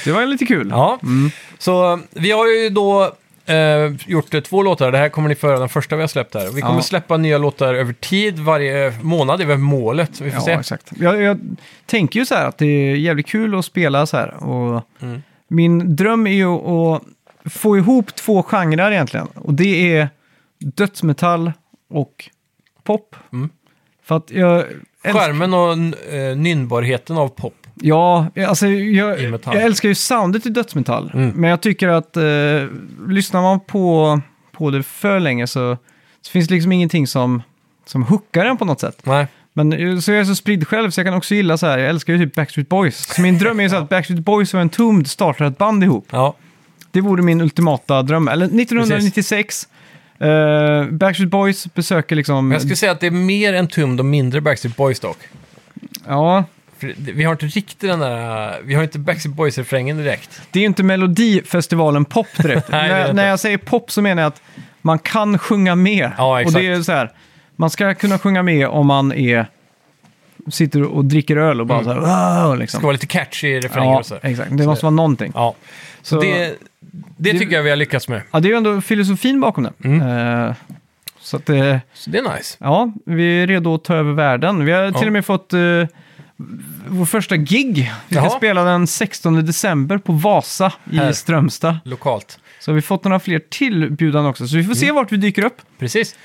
A: det var ju lite kul.
B: Ja,
A: Mm.
B: så eh, vi har ju då eh, gjort eh, två låtar. Det här kommer ni få höra den första vi har släppt här. Vi kommer
A: Ja.
B: släppa nya låtar över tid. Varje månad är väl målet. Vi får
A: Ja,
B: se.
A: exakt. Jag, jag tänker ju så här att det är jävligt kul att spela så här. Och
B: Mm.
A: Min dröm är ju att få ihop två genrer egentligen. Och det är dödsmetall och pop.
B: Mm.
A: För att jag... älskar-
B: Skärmen och eh, nynnbarheten av pop.
A: Ja, alltså jag,
B: I metall.
A: jag älskar ju soundet i dödsmetall.
B: Mm.
A: Men jag tycker att eh, lyssnar man på, på det för länge så, så finns det liksom ingenting som, som hookar en på något sätt.
B: Nej,
A: Men eh, så jag är så spridd själv så jag kan också gilla så här, jag älskar ju typ Backstreet Boys. Så min dröm är ju så att Backstreet Boys och en Entombed startar ett band ihop.
B: ja,
A: Det vore min ultimata dröm. Eller 1996, eh, Backstreet Boys besöker liksom...
B: men jag skulle säga att det är mer en tum och mindre Backstreet Boys dock.
A: Ja,
B: För det- vi har inte riktigt den där, vi har inte Backstreet Boys-refrängen direkt.
A: det är ju inte Melodifestivalen pop direkt.
B: Nej, det är det
A: när,
B: inte.
A: när jag säger pop så menar jag att man kan sjunga med.
B: Ja,
A: och
B: exakt.
A: det är så här, man ska kunna sjunga med om man är, sitter och dricker öl och bara så här, wow,
B: Det
A: liksom.
B: ska vara lite catchy refränger
A: Ja,
B: Mm. och så. här.
A: exakt. Det måste vara någonting.
B: Ja, så,
A: Så-
B: det, det tycker jag vi har lyckats med.
A: Ja, det är ju ändå filosofin bakom det.
B: Mm.
A: Eh, så att, eh,
B: Så det är nice.
A: ja, vi är redo att ta över världen. Vi har till och med fått eh, vår första gig. Vi ska
B: Jaha.
A: spela den 16 december på Vasa i
B: Här.
A: Strömstad.
B: Lokalt.
A: Så har vi fått några fler tillbjudanden också, så vi får se
B: Mm.
A: vart vi dyker upp.
B: Precis.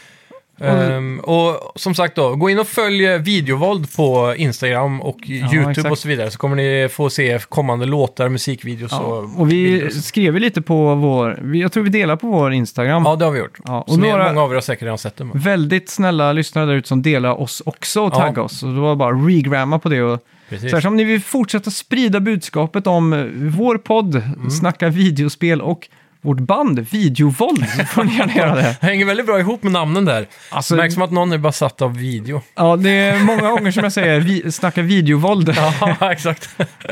B: Ehm, och som sagt då, gå in och följ eh, videovåld på Instagram och YouTube
A: exakt.
B: och så vidare. Så kommer ni få se kommande låtar, musikvideos och...
A: Och vi
B: videos.
A: skrev ju lite på vår, vi- jag tror vi delar på vår Instagram.
B: Ja, det har vi gjort.
A: Ja, och
B: så ni-
A: några-
B: många av er har säkert redan sett dem.
A: Väldigt snälla lyssnare där ute som delar oss också och
B: Ja.
A: taggar oss. Och det var bara att regramma på det och
B: Precis.
A: Så här, så om ni vill fortsätta sprida budskapet om eh, vår podd,
B: Mm.
A: Snacka videospel och vårt band Videovåld så får ni gärna göra det.
B: Hänger väldigt bra ihop med namnen där.
A: Alltså-
B: Märks som att någon är besatt av video.
A: Ja, det är många gånger som jag säger vi, Snacka videovåld.
B: ja, exakt.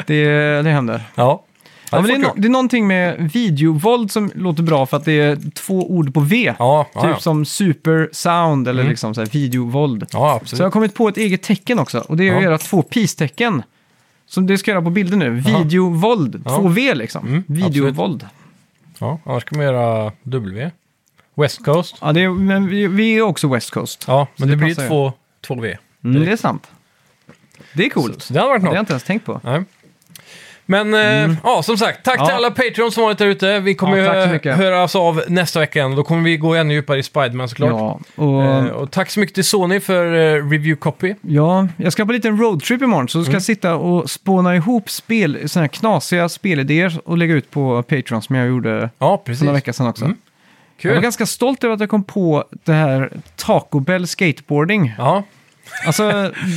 A: Det, det händer.
B: ja.
A: Ja, men det, är
B: får
A: no-
B: kul.
A: det är någonting med videovåld som låter bra för att det är två ord på V.
B: ja, ja,
A: typ
B: ja.
A: som super sound eller liksom så här videovåld.
B: ja,
A: Så jag
B: absolut.
A: har kommit på ett eget tecken också och det är
B: Ja.
A: att göra två pistecken. Som det ska göra på bilden nu. Videovåld,
B: Ja. Mm,
A: två V liksom. videovåld.
B: Ja, annars kan man göra W. West Coast.
A: Ja, det är, men vi, vi är också West Coast.
B: Ja, men
A: det
B: det, blir
A: passar ju.
B: två, två V.
A: mm, det är sant. Det är coolt.
B: Så det hade varit
A: det har
B: något.
A: jag inte ens tänkt på.
B: Nej. Men eh, ja, som sagt, tack till
A: Ja.
B: alla Patreons som varit där ute. Vi kommer
A: Ja, tack så
B: ju hö-
A: mycket.
B: höra oss av nästa vecka igen. Då kommer vi gå ännu djupare i Spiderman såklart.
A: Ja, och,
B: Eh, och tack så mycket till Sony för eh, review copy.
A: ja, jag ska på en liten roadtrip imorgon, så ska
B: Mm.
A: jag sitta och spåna ihop spel, såna här knasiga spelidéer och lägga ut på Patreon som jag gjorde
B: Ja,
A: för några
B: precis. Mm,
A: veckor sedan också. Jag var
B: Kul.
A: ganska stolt över att jag kom på det här Taco Bell skateboarding.
B: Ja,
A: Alltså, det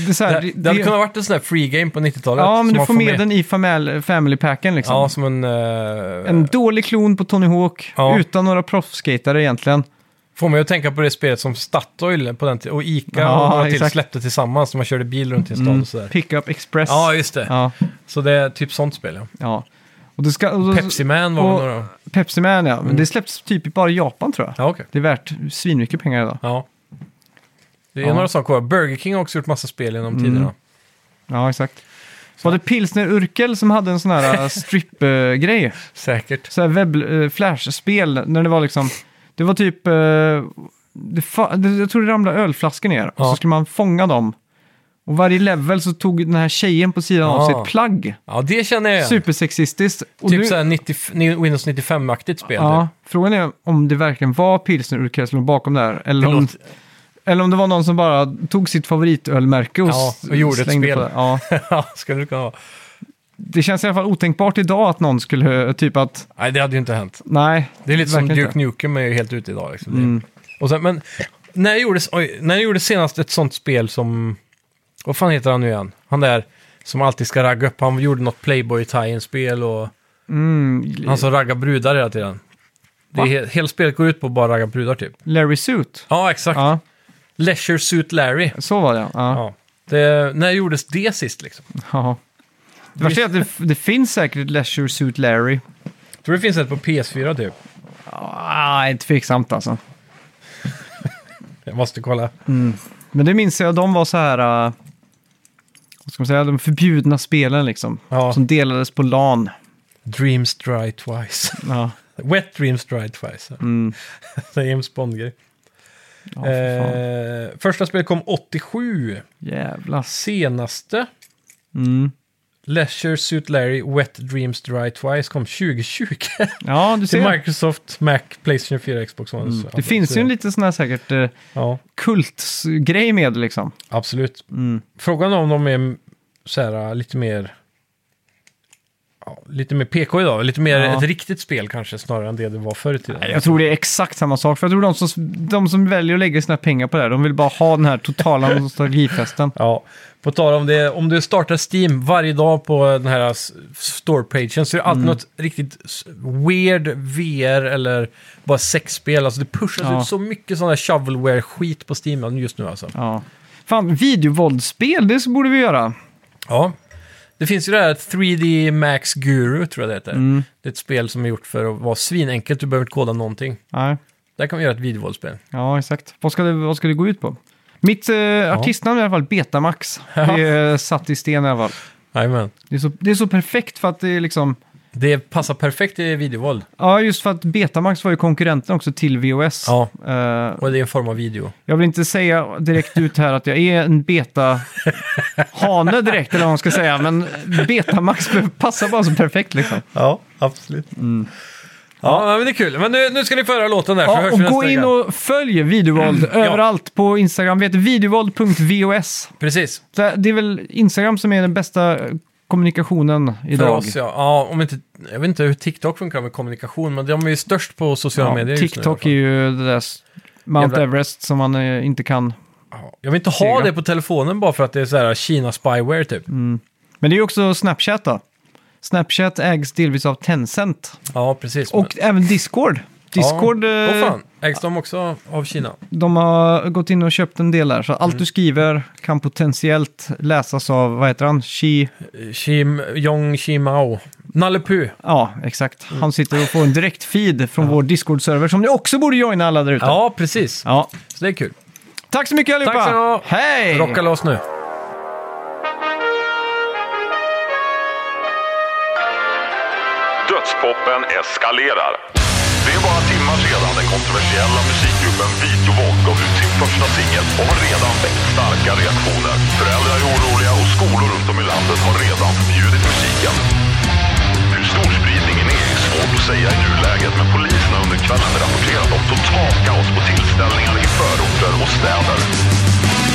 A: är så här,
B: det, det hade kunnat varit en sån där free game på 90-talet.
A: Ja, men
B: som
A: du
B: man
A: får med den i famil- family packen liksom.
B: Ja, som en... eh,
A: En dålig klon på Tony Hawk,
B: Ja.
A: utan några proffsskatare egentligen.
B: Får mig att tänka på det spelet som Statoil på den tiden, och Ica
A: Ja,
B: och några till
A: exakt.
B: släppte tillsammans när man körde bil runt i en stad och sådär.
A: Pickup Express.
B: Ja, just det.
A: ja,
B: Så det är typ sånt spel, ja.
A: ja. Och det ska, och då-
B: Pepsi Man var
A: och-
B: väl några...
A: Pepsi Man, ja. Men det släpps typ i bara i Japan tror jag.
B: Ja, okej.
A: Det är värt svinmycket pengar idag.
B: Ja. Det är
A: Ja. Mm.
B: några saker kvar. Burger King har också gjort massa spel genom tiderna.
A: Ja, exakt. Var det Pilsner Urkel som hade en sån här äh, strip-grej?
B: Säkert.
A: Så här webb, eh, flashspel, när det var liksom... Det var typ... eh, det fa- det, jag tror det ramlade ölflaskor ner och
B: Ja.
A: så skulle man fånga dem. Och varje level så tog den här tjejen på sidan av
B: Ja.
A: sig ett plagg.
B: Ja, det känner jag igen.
A: Supersexistiskt. Och
B: Typ
A: nu-
B: såhär 90, ni- Windows 95-aktigt spel.
A: Ja,
B: typ.
A: frågan är om det verkligen var pilsner Urkel som låg bakom det här. Eller om,
B: Förlåt.
A: eller om det var någon som bara tog sitt favoritölmärke och,
B: Ja,
A: s-
B: och gjorde ett
A: slängde
B: spel.
A: på det. Ja.
B: Ja, skulle det kunna vara.
A: Det känns i alla fall otänkbart idag att någon skulle eh, typ att,
B: Nej, det hade ju inte hänt.
A: nej.
B: Det är lite som
A: verkligen
B: Duke
A: inte. Mm.
B: Nukem är ju helt ute idag. Liksom. Det- Och sen, men när jag, gjorde, oj, när jag gjorde senast ett sånt spel som... Vad fan heter han nu igen? Han där som alltid ska ragga upp. Han gjorde något playboy tie spel och
A: Mm,
B: han som raggar brudar hela tiden. Det är,
A: Va?
B: he- hela spelet går ut på att bara ragga brudar typ.
A: Larry Suit.
B: Ja, exakt.
A: Ja,
B: Leisure Suit Larry.
A: så var det ja.
B: Ja. Det, när gjordes det sist liksom?
A: ja. Det värsta är att det, det finns säkert Leisure Suit Larry.
B: Tror det finns ett på PS4 typ.
A: Ah, inte tveksamt alltså.
B: Jag måste kolla.
A: Men det minns jag, de var så här, eh, vad ska man säga, de förbjudna spelen liksom.
B: Ja.
A: Som delades på LAN.
B: Dreams Dry Twice.
A: Ja,
B: Wet Dreams Dry Twice.
A: mm.
B: Det är James Bond-grej.
A: ja för fan.
B: eh, första spelet kom 87.
A: Jävlas.
B: Senaste,
A: Mm.
B: Leisure Suit Larry Wet Dreams Dry Twice, kom 2020.
A: Ja, du
B: till
A: ser.
B: Microsoft, Mac, Playstation 4, Xbox One. Så-
A: Mm. Det finns ju en liten sån här säkert eh,
B: Ja,
A: kultgrej med det liksom.
B: absolut.
A: Mm.
B: Frågan är om de är så här, äh, lite mer... Ja, lite mer PK idag, lite mer
A: Ja.
B: ett riktigt spel kanske snarare än det det var förr i tiden.
A: Jag tror det är exakt samma sak. För jag tror de som, de som väljer att lägga sina pengar på det här, de vill bara ha den här totala nostalgifesten.
B: Ja, på tal om det, om du startar Steam varje dag på den här s- store-pagen så är det alltid något riktigt s- weird VR eller bara sexspel. Alltså det pushas
A: Ja.
B: ut så mycket sådana här shovelware-skit på Steam just nu alltså.
A: Ja. Fan, videovåldsspel, det så borde vi göra.
B: Ja. Det finns ju det här 3D Max Guru, tror jag det heter. Det är ett spel som är gjort för att vara svinenkelt, du behöver inte koda någonting.
A: Nej.
B: Där kan vi göra ett videovåldsspel.
A: Ja, exakt. Vad ska det, vad ska det gå ut på? Mitt eh, artistnamn är i alla fall Betamax. Det är eh, satt i sten i alla fall.
B: Jajamän.
A: Det är, så, det är så perfekt för att det är liksom...
B: Det passar perfekt i videovåld.
A: Ja, just för att Betamax var ju konkurrenten också till VOS.
B: Ja.
A: Eh,
B: Och det är en form av video.
A: Jag vill inte säga direkt ut här att jag är en beta-hane direkt, eller vad man ska säga. Men Betamax passar bara så perfekt liksom.
B: Ja, absolut. Ja, men det är kul. Men nu, nu ska ni föra låten där, så
A: Mm. Ja,
B: hörs
A: och
B: vi nästa
A: gå in
B: vecka. Mm,
A: och följ videovåld överallt på Instagram. Vi heter videovåld.vos.
B: Precis,
A: Så Det är väl Instagram som är den bästa kommunikationen
B: för
A: idag.
B: oss ja. ja om inte, jag vet inte hur TikTok funkar med kommunikation, men de är ju störst på sociala medier just nu i alla
A: TikTok
B: fall.
A: är ju det där s- Mount
B: Jävla-
A: Everest som man eh, inte kan.
B: Ja, Jag vill inte ha
A: Sega. Mm.
B: det på telefonen bara för att det är så här Kina-spyware typ.
A: Men det är ju också Snapchat då. Snapchat ägs delvis av Tencent.
B: Ja, precis.
A: Och även Discord. Discord...
B: Ja.
A: eh,
B: Åh, fan, ägs de också av Kina?
A: De har gått in och köpt en del där, så allt du skriver kan potentiellt läsas av, vad heter han, Xi?
B: Kim, Jong Shimao. Nalle Puh.
A: Ja, exakt. Han sitter och får en direkt feed från vår Discord-server som ni också borde joina alla där ute.
B: Ja, precis.
A: Ja.
B: Så det är kul.
A: Tack så mycket allihopa!
B: Tack ska ni ha.
A: Hej!
B: Rocka loss nu.
E: Dödspoppen eskalerar. Det är bara timmar sedan den kontroversiella musikgruppen Videovåld gav ut sin första singel och har redan väckt starka reaktioner. Föräldrar är oroliga och skolor runt om i landet har redan förbjudit musiken. Hur stor spridningen är är svårt att säga i nuläget men polisen har under kvällen rapporterat om totalt kaos på tillställningar i förorter och städer.